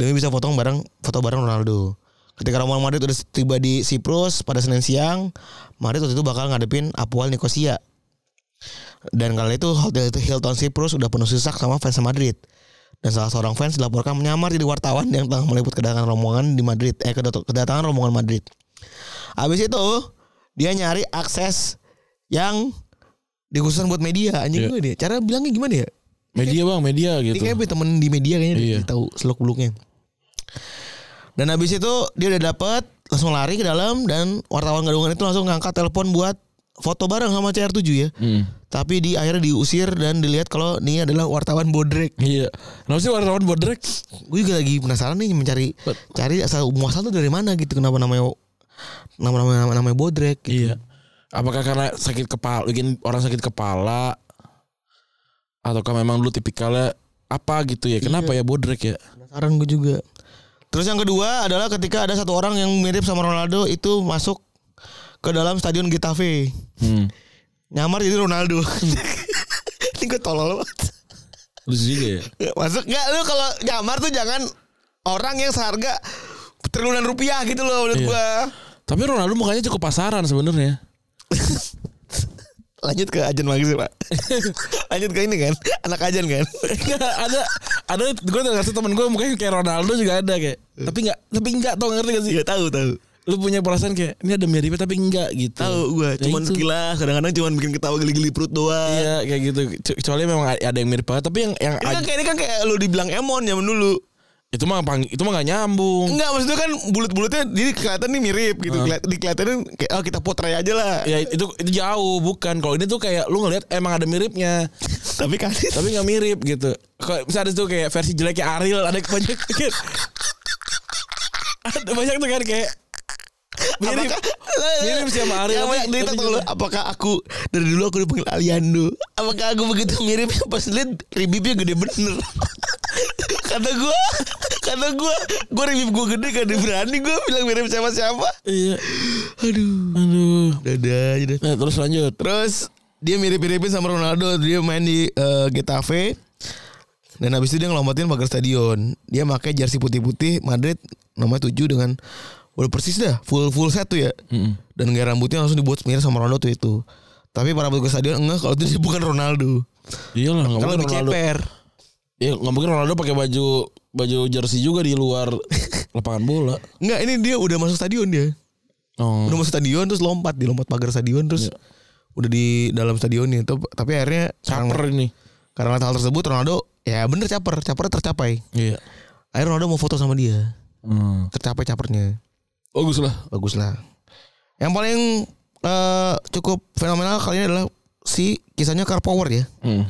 Demi bisa foto bareng foto bareng Ronaldo. Ketika Real Madrid udah tiba di Siprus pada Senin siang, Madrid waktu itu bakal ngadepin Apoel Nicosia. Dan kala itu hotel itu Hilton Siprus udah penuh sesak sama fans Madrid. Dan salah seorang fans dilaporkan menyamar jadi wartawan yang telah meliput kedatangan rombongan di Madrid, eh kedat- kedatangan rombongan Madrid. Habis itu dia nyari akses yang dikhususkan buat media anjing
Iya.
gue dia. Cara bilangnya gimana ya?
Media bang, media
Dia
gitu.
kayaknya punya temen di media kayaknya
Iya.
dia tahu seluk beluknya. Dan habis itu dia udah dapet langsung lari ke dalam dan wartawan gadungan itu langsung ngangkat telepon buat foto bareng sama CR7 ya.
Hmm.
Tapi di akhirnya diusir dan dilihat kalau ini adalah wartawan bodrek.
Iya. Kenapa sih wartawan bodrek?
Gue juga lagi penasaran nih mencari
Bet-
cari asal muasal tuh dari mana gitu kenapa namanya nama nama namanya bodrek. gitu.
Iya. Apakah karena sakit kepala, bikin orang sakit kepala? Ataukah memang lu tipikalnya apa gitu ya? Kenapa ya bodrek ya?
Penasaran gue juga. Terus yang kedua adalah ketika ada satu orang yang mirip sama Ronaldo itu masuk ke dalam stadion Getafe.
Hmm.
nyamar jadi Ronaldo. <laughs> Ini gue tolol banget.
Lucu juga ya.
Masuk nggak lu kalau nyamar tuh jangan orang yang seharga triliunan rupiah gitu loh menurut
Iya.
gua.
Tapi Ronaldo mukanya cukup pasaran sebenarnya.
Lanjut ke ajan lagi sih
<laughs>
pak. Lanjut ke ini kan anak ajan kan.
Nggak, Iya, ada ada gue dengar sih temen gue mukanya kayak Ronaldo juga ada kayak tapi nggak tapi nggak tau ngerti gak sih
Iya tahu tahu.
lu punya perasaan kayak ini ada miripnya tapi enggak gitu
Tahu gua
Ya
cuman
itu.
sekilas kadang-kadang cuman bikin ketawa geli-geli perut doang.
iya kayak gitu Ke- kecuali memang a- ada yang mirip banget tapi yang yang
Ini kan
aj-
kayak ini kan kayak lu dibilang Emon zaman dulu.
itu mah pang- itu mah nggak nyambung
Enggak maksudnya kan bulut-bulutnya jadi kelihatan nih mirip gitu. Kelihat- Dikelihatannya kayak oh kita potret aja lah.
ya itu itu jauh bukan kalau ini tuh kayak lu ngelihat emang ada miripnya
Tapi kan
tapi nggak mirip gitu kalau misalnya ada tuh kayak versi jeleknya Ariel ada banyak <laughs> ada banyak tuh kan kayak mirip
Apakah-
mirip sih sama
Yang
Ariel, tapi-
banyak cerita
tapi
tuh lu,
juga-
Apakah aku dari dulu aku dipanggil Aliando? Apakah aku begitu mirip <laughs> pas lihat ribibnya gede bener? <laughs> kata gua, kata gua, gua ribib gua gede gak ada berani gua bilang mirip sama siapa?
iya
Aduh,
aduh
dadah aja deh.
nah, terus lanjut
Terus dia mirip-miripin sama Ronaldo. Dia main di eh, Getafe. Dan habis itu dia ngelombatin pagar stadion. Dia pakai jersey putih-putih Madrid nomor 7 dengan udah persis dah full full set tuh ya. Dan gaya rambutnya langsung dibuat mirip sama Ronaldo tuh itu. Tapi para petugas stadion enggak kalau itu dia bukan Ronaldo.
iya lah nggak
Kalau
mungkin
lebih
Ronaldo
ceper.
ya nggak mungkin Ronaldo pakai baju baju jersey juga di <laughs> luar lapangan bola
Enggak, ini dia udah masuk stadion dia.
oh.
Udah masuk stadion terus lompat, dilompat pagar stadion terus udah di dalam stadionnya itu tapi akhirnya karena,
caper ini
karena hal tersebut Ronaldo ya bener caper caper tercapai
iya
Akhirnya Ronaldo mau foto sama dia.
hmm.
Tercapai capernya.
bagus lah
Bagus lah. Yang paling eh, cukup fenomenal kali ini adalah si kisahnya Car Power ya.
hmm.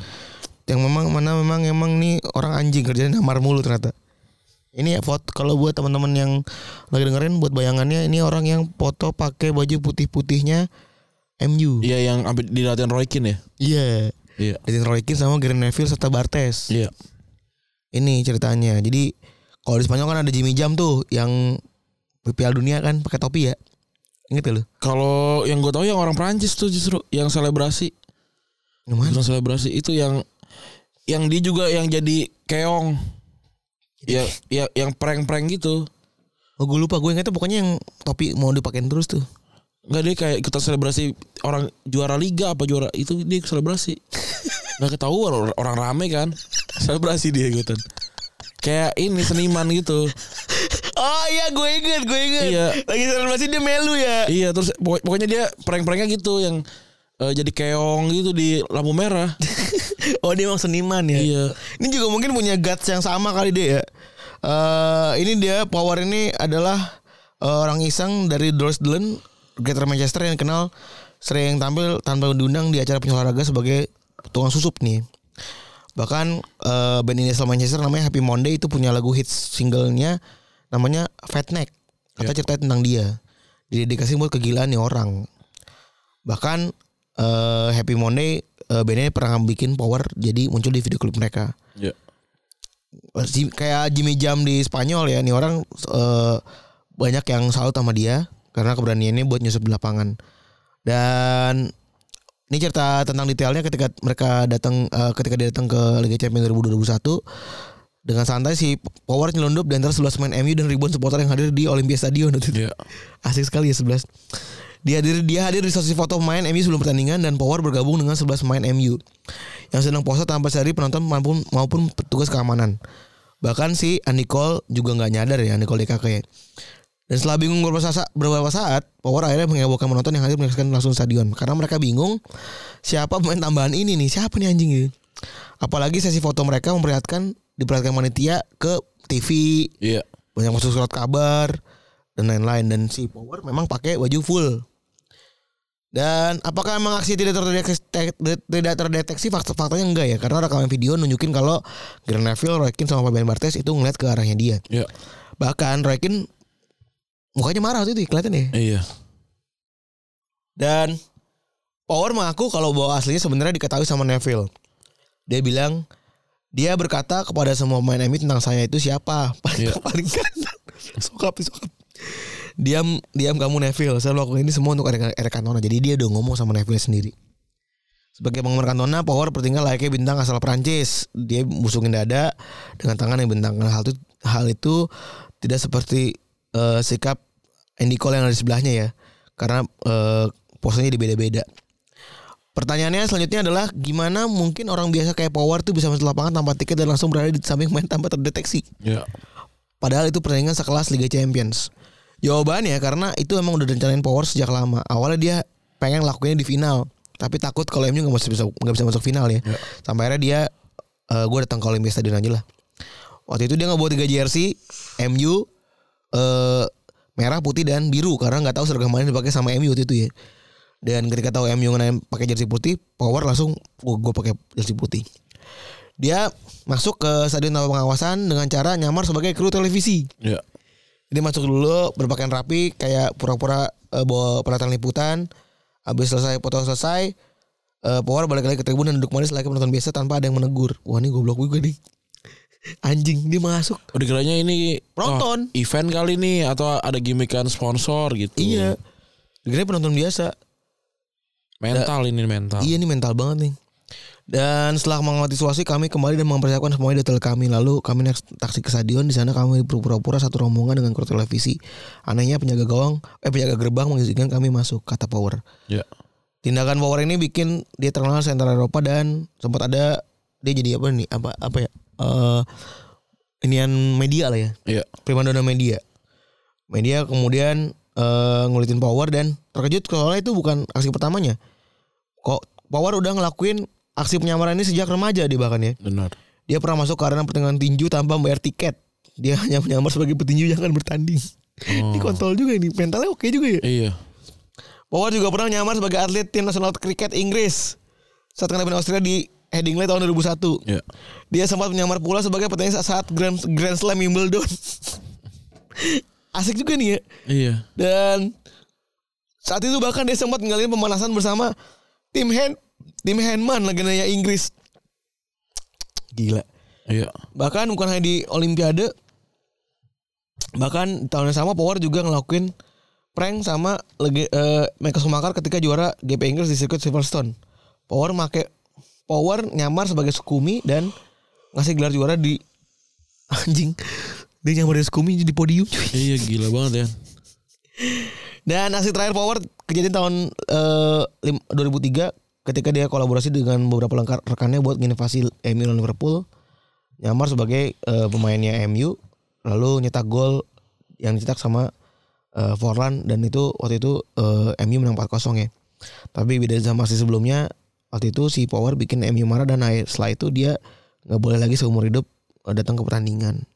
Yang memang mana memang emang nih orang anjing kerjanya namar mulu ternyata. Ini ya foto kalau buat teman-teman yang lagi dengerin buat bayangannya ini orang yang foto pakai baju putih-putihnya MU.
iya yang ambil di latihan Roy Keane ya
Iya.
iya
Jadi Roy Keane sama Gary Neville serta Bartes.
iya
Ini ceritanya. Jadi kalau di Spanyol kan ada Jimmy Jam tuh yang Piala Dunia kan pakai topi ya. Ingat gak lu?
kalau yang gue tahu yang orang Prancis tuh justru yang selebrasi
Yang mana?
yang selebrasi itu yang yang dia juga yang jadi keong ya ya yang prank-prank gitu
Oh gue lupa gue ingetnya pokoknya yang topi mau dipakein terus tuh.
Enggak dia kayak ikutan selebrasi orang juara liga apa juara itu dia selebrasi. Enggak ketahuan or- orang rame kan. Selebrasi dia ikutan. Kayak ini seniman gitu.
Oh iya gue inget gue inget.
Iya.
Lagi selebrasi dia melu ya.
Iya terus pokok- pokoknya dia prank-pranknya gitu yang eh, jadi keong gitu di lampu merah.
Oh dia emang seniman ya.
Iya.
Ini juga mungkin punya guts yang sama kali dia ya. Eh, ini dia power ini adalah eh, orang iseng dari Dresden Greater Manchester yang kenal sering tampil tanpa diundang di acara olahraga sebagai tukang susup nih. Bahkan eh, band ini asal Manchester namanya Happy Monday itu punya lagu hits singlenya namanya Fat Neck. Kata cerita tentang dia. Didedikasi buat kegilaan nih orang. bahkan eh, Happy Monday eh, bandnya pernah bikin power jadi muncul di video klip mereka
Iya.
Si- Eh, kayak Jimmy Jam di Spanyol ya nih orang eh, banyak yang salut sama dia karena keberaniannya buat nyusup di lapangan dan ini cerita tentang detailnya ketika mereka datang eh, ketika dia datang ke Liga Champions 2021 dengan santai si Power nyelundup di antara 11 pemain MU dan ribuan supporter yang hadir di Olympia Stadion <laughs> waktu itu.
Iya.
Asik sekali ya 11. Dia hadir dia hadir di sesi foto pemain MU sebelum pertandingan dan Power bergabung dengan 11 pemain MU yang sedang poso tanpa sehari penonton maupun maupun petugas keamanan. Bahkan si Andy Cole juga nggak nyadar ya Andy Cole DKK ya. Dan setelah bingung beberapa saat, beberapa saat Power akhirnya menghebohkan penonton yang hadir menyaksikan langsung stadion karena mereka bingung siapa pemain tambahan ini nih, siapa nih anjing ini. Apalagi sesi foto mereka memperlihatkan diperlihatkan panitia ke TV
Iya.
banyak masuk surat kabar dan lain-lain dan si Power memang pakai baju full. Dan apakah emang aksi tidak terdeteksi, te- tidak terdeteksi fakta faktanya enggak ya? Karena rekaman video nunjukin kalau Grand Neville, Roy Keane sama Fabian Barthez itu ngeliat ke arahnya dia.
Iya.
Bahkan Roy Keane mukanya marah waktu itu kelihatan ya.
Iya.
Dan Power mengaku kalau bahwa aslinya sebenarnya diketahui sama Neville. Dia bilang dia berkata kepada semua pemain MU tentang saya itu siapa <laughs> paling
Iya.
paling kanan. <laughs> Sokap sokap. Diam diam kamu Neville. Saya melakukan ini semua untuk Eric Eric Cantona. Jadi dia udah ngomong sama Neville sendiri. Sebagai penggemar Cantona, Power bertingkah layaknya bintang asal Prancis. Dia busungin dada dengan tangan yang bintang. Hal itu, hal itu tidak seperti eh, sikap Andy Cole yang ada di sebelahnya ya. Karena eh, posenya beda-beda. Pertanyaannya selanjutnya adalah gimana mungkin orang biasa kayak Power tuh bisa masuk lapangan tanpa tiket dan langsung berada di samping main tanpa terdeteksi?
Iya.
Padahal itu pertandingan sekelas Liga Champions. Jawabannya karena itu emang udah rencanain Power sejak lama. Awalnya dia pengen lakuinnya di final, tapi takut kalau MU nggak bisa nggak bisa masuk final ya. Sampai akhirnya dia gue datang ke Olympia Stadion aja lah. Waktu itu dia nggak bawa tiga jersey MU eh, merah, putih dan biru karena nggak tahu seragam mana yang dipakai sama MU waktu itu ya. Dan ketika tahu MU ngenain pakai jersey putih, Power langsung gue pakai jersey putih. Dia masuk ke stadion tanpa pengawasan dengan cara nyamar sebagai kru televisi.
Iya.
Jadi masuk dulu berpakaian rapi kayak pura-pura eh, bawa peralatan liputan. Habis selesai foto selesai, eh, Power balik lagi ke tribun dan duduk manis lagi penonton biasa tanpa ada yang menegur. Wah, ini goblok gue nih. <laughs> Anjing, dia masuk.
Udah kiranya ini
Penonton.
oh, event kali nih atau ada gimmickan sponsor gitu.
Iya. Kira penonton biasa.
Mental ini mental.
Iya nih mental banget nih. Dan setelah mengamati situasi kami kembali dan mempersiapkan semuanya detail kami. Lalu kami naik taksi ke stadion. Di sana kami berpura-pura satu rombongan dengan kru televisi. Anehnya penjaga gawang, eh penjaga gerbang mengizinkan kami masuk kata Power.
Iya.
Tindakan Power ini bikin dia terkenal sentral Eropa dan sempat ada dia jadi apa nih apa apa ya Eh inian media lah ya
Iya.
primadona media. Media kemudian eh, ngulitin Power dan terkejut soalnya itu bukan aksi pertamanya. Kok Power udah ngelakuin aksi penyamaran ini sejak remaja dia bahkan ya.
Benar.
Dia pernah masuk ke arena pertandingan tinju tanpa bayar tiket. Dia <laughs> hanya menyamar sebagai petinju yang akan bertanding. Ini kontol juga ini, mentalnya oke juga ya.
Iya.
Power juga pernah nyamar sebagai atlet tim nasional kriket Inggris. Saat kena Australia di Headingley tahun 2001.
Iya.
Dia sempat menyamar pula sebagai petenis saat Grand, Grand Slam Wimbledon. <laughs> Asik juga nih ya.
Iya.
Dan saat itu bahkan dia sempat ngalamin pemanasan bersama tim hand tim handman legendanya Inggris. Gila.
Iya.
Bahkan bukan hanya di Olimpiade, bahkan di tahun yang sama Power juga ngelakuin prank sama lege, eh, Michael Schumacher ketika juara GP Inggris di sirkuit Silverstone. Power make Power nyamar sebagai Sukumi dan ngasih gelar juara di anjing dia nyamar di Sukumi di podium cuy.
Iya gila banget ya.
Dan aksi terakhir Power kejadian tahun eh, lim- 2003 ketika dia kolaborasi dengan beberapa lengkar- rekannya buat nginovasi MU dan Liverpool. Nyamar sebagai eh, pemainnya MU lalu nyetak gol yang dicetak sama eh, Forlan dan itu waktu itu eh, MU menang 4-0 ya. Tapi beda sama aksi sebelumnya waktu itu si Power bikin MU marah dan akhir- setelah itu dia nggak boleh lagi seumur hidup eh, datang ke pertandingan.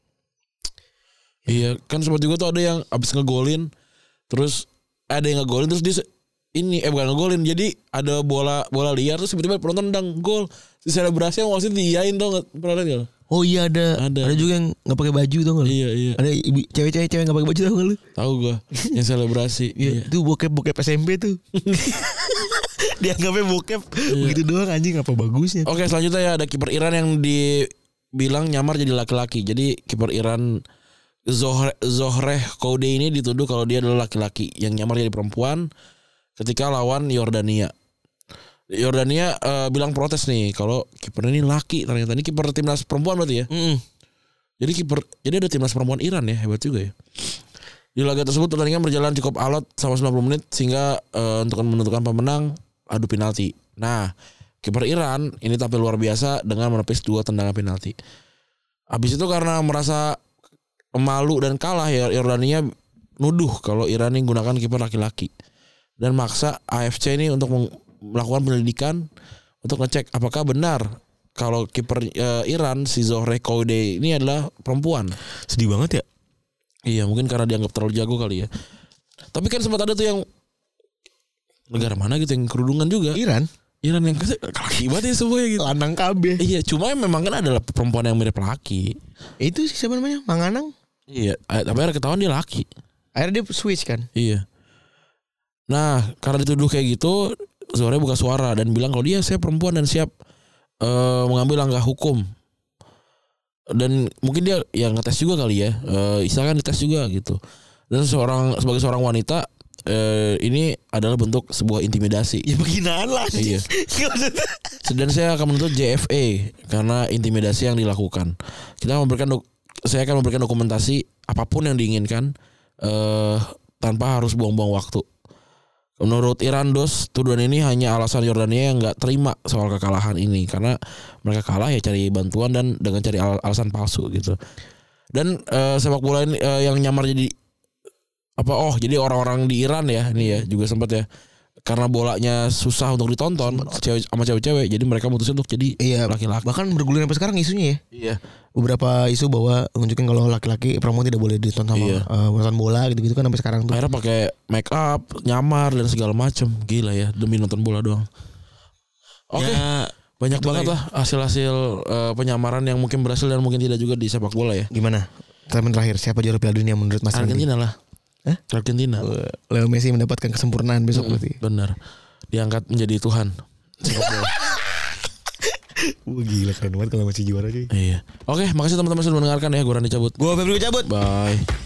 Iya, kan sempat juga tuh ada yang abis ngegolin terus ada yang ngegolin terus dia se- ini eh bukan ngegolin. Jadi ada bola bola liar terus tiba-tiba penonton dang gol. Terus selebrasi yang wasit diiyain tuh enggak pernah lihat nggak?
Oh iya ada.
Ada.
Ada, juga yang nggak pakai baju tuh nggak? lu?
Iya iya.
Ada ibu cewek-cewek cewek nggak pakai baju tau nggak lu?
Tahu gua yang selebrasi.
Iya.
Iya.
Itu bokep bokep SMP tuh. Dianggapnya bokep begitu doang anjing apa bagusnya?
Oke selanjutnya ya ada kiper Iran yang dibilang nyamar jadi laki-laki. Jadi kiper Iran Zohreh, Zohreh Koude ini dituduh kalau dia adalah laki-laki yang nyamar jadi perempuan ketika lawan Yordania. Yordania eh, bilang protes nih kalau kiper ini laki ternyata ini kiper timnas perempuan berarti ya.
Mm-mm.
Jadi kiper jadi ada timnas perempuan Iran ya hebat juga ya. Di laga tersebut pertandingan berjalan cukup alot sama 90 menit sehingga eh, untuk menentukan pemenang adu penalti. Nah, kiper Iran ini tampil luar biasa dengan menepis dua tendangan penalti. Habis itu karena merasa malu dan kalah ya Yordania nuduh kalau Iran ini gunakan kiper laki-laki dan maksa AFC ini untuk meng- melakukan penyelidikan untuk ngecek apakah benar kalau kiper eh, Iran si Zohreh Koude ini adalah perempuan.
Sedih banget ya.
Iya, mungkin karena dianggap terlalu jago kali ya. Tapi kan sempat ada tuh yang negara mana gitu yang kerudungan juga.
Iran,
Iran Iya, yang laki banget ya semuanya gitu.
lanang KB.
Iya, cuma yang memang kan adalah perempuan yang mirip laki.
Itu sih siapa namanya? Manganang.
Iya, eh, tapi akhirnya ketahuan dia laki.
Akhirnya dia switch kan.
Iya. Nah, karena dituduh kayak gitu, Zohre buka suara dan bilang kalau dia saya perempuan dan siap eh, mengambil langkah hukum. Dan mungkin dia yang ngetes juga kali ya. Eh istilahnya kan dites juga gitu. Dan seorang sebagai seorang wanita eh, ini adalah bentuk sebuah intimidasi.
Ya penghinaan lah. <laughs>
Iya. Dan saya akan menuntut JFE karena intimidasi yang dilakukan. Kita memberikan dok- saya akan memberikan dokumentasi apapun yang diinginkan eh tanpa harus buang-buang waktu. Menurut Iran Dos, tuduhan ini hanya alasan Yordania yang nggak terima soal kekalahan ini karena mereka kalah ya cari bantuan dan dengan cari al- alasan palsu gitu. Dan eh, sepak bola ini, eh, yang nyamar jadi apa oh jadi orang-orang di Iran ya ini ya juga sempat ya karena bolanya susah untuk ditonton cewek sama cewek-cewek jadi mereka mutusin untuk jadi
Iya.
laki-laki.
Bahkan bergulir sampai sekarang isunya ya.
Iya.
Beberapa isu bahwa nunjukin kalau laki-laki perempuan tidak boleh ditonton sama
Iya.
eh, nonton bola gitu-gitu kan sampai sekarang tuh.
Akhirnya pakai make up, nyamar dan segala macem gila ya demi nonton bola doang. Oke.
Ya,
Banyak
Itu
banget
kayak-
lah hasil-hasil eh, penyamaran yang mungkin berhasil dan mungkin tidak juga di sepak bola ya.
Gimana? Statement terakhir siapa juara Piala Dunia menurut Mas Randy?
Argentina lah.
Hah?
Argentina.
Eh, Leo Messi mendapatkan kesempurnaan besok berarti.
Benar. Diangkat menjadi Tuhan. Sepak bola.
Wah gila keren banget kalau masih juara cuy.
iya. Oke, makasih teman-teman sudah mendengarkan ya. Gue Randy cabut.
Gue Febri cabut.
Bye.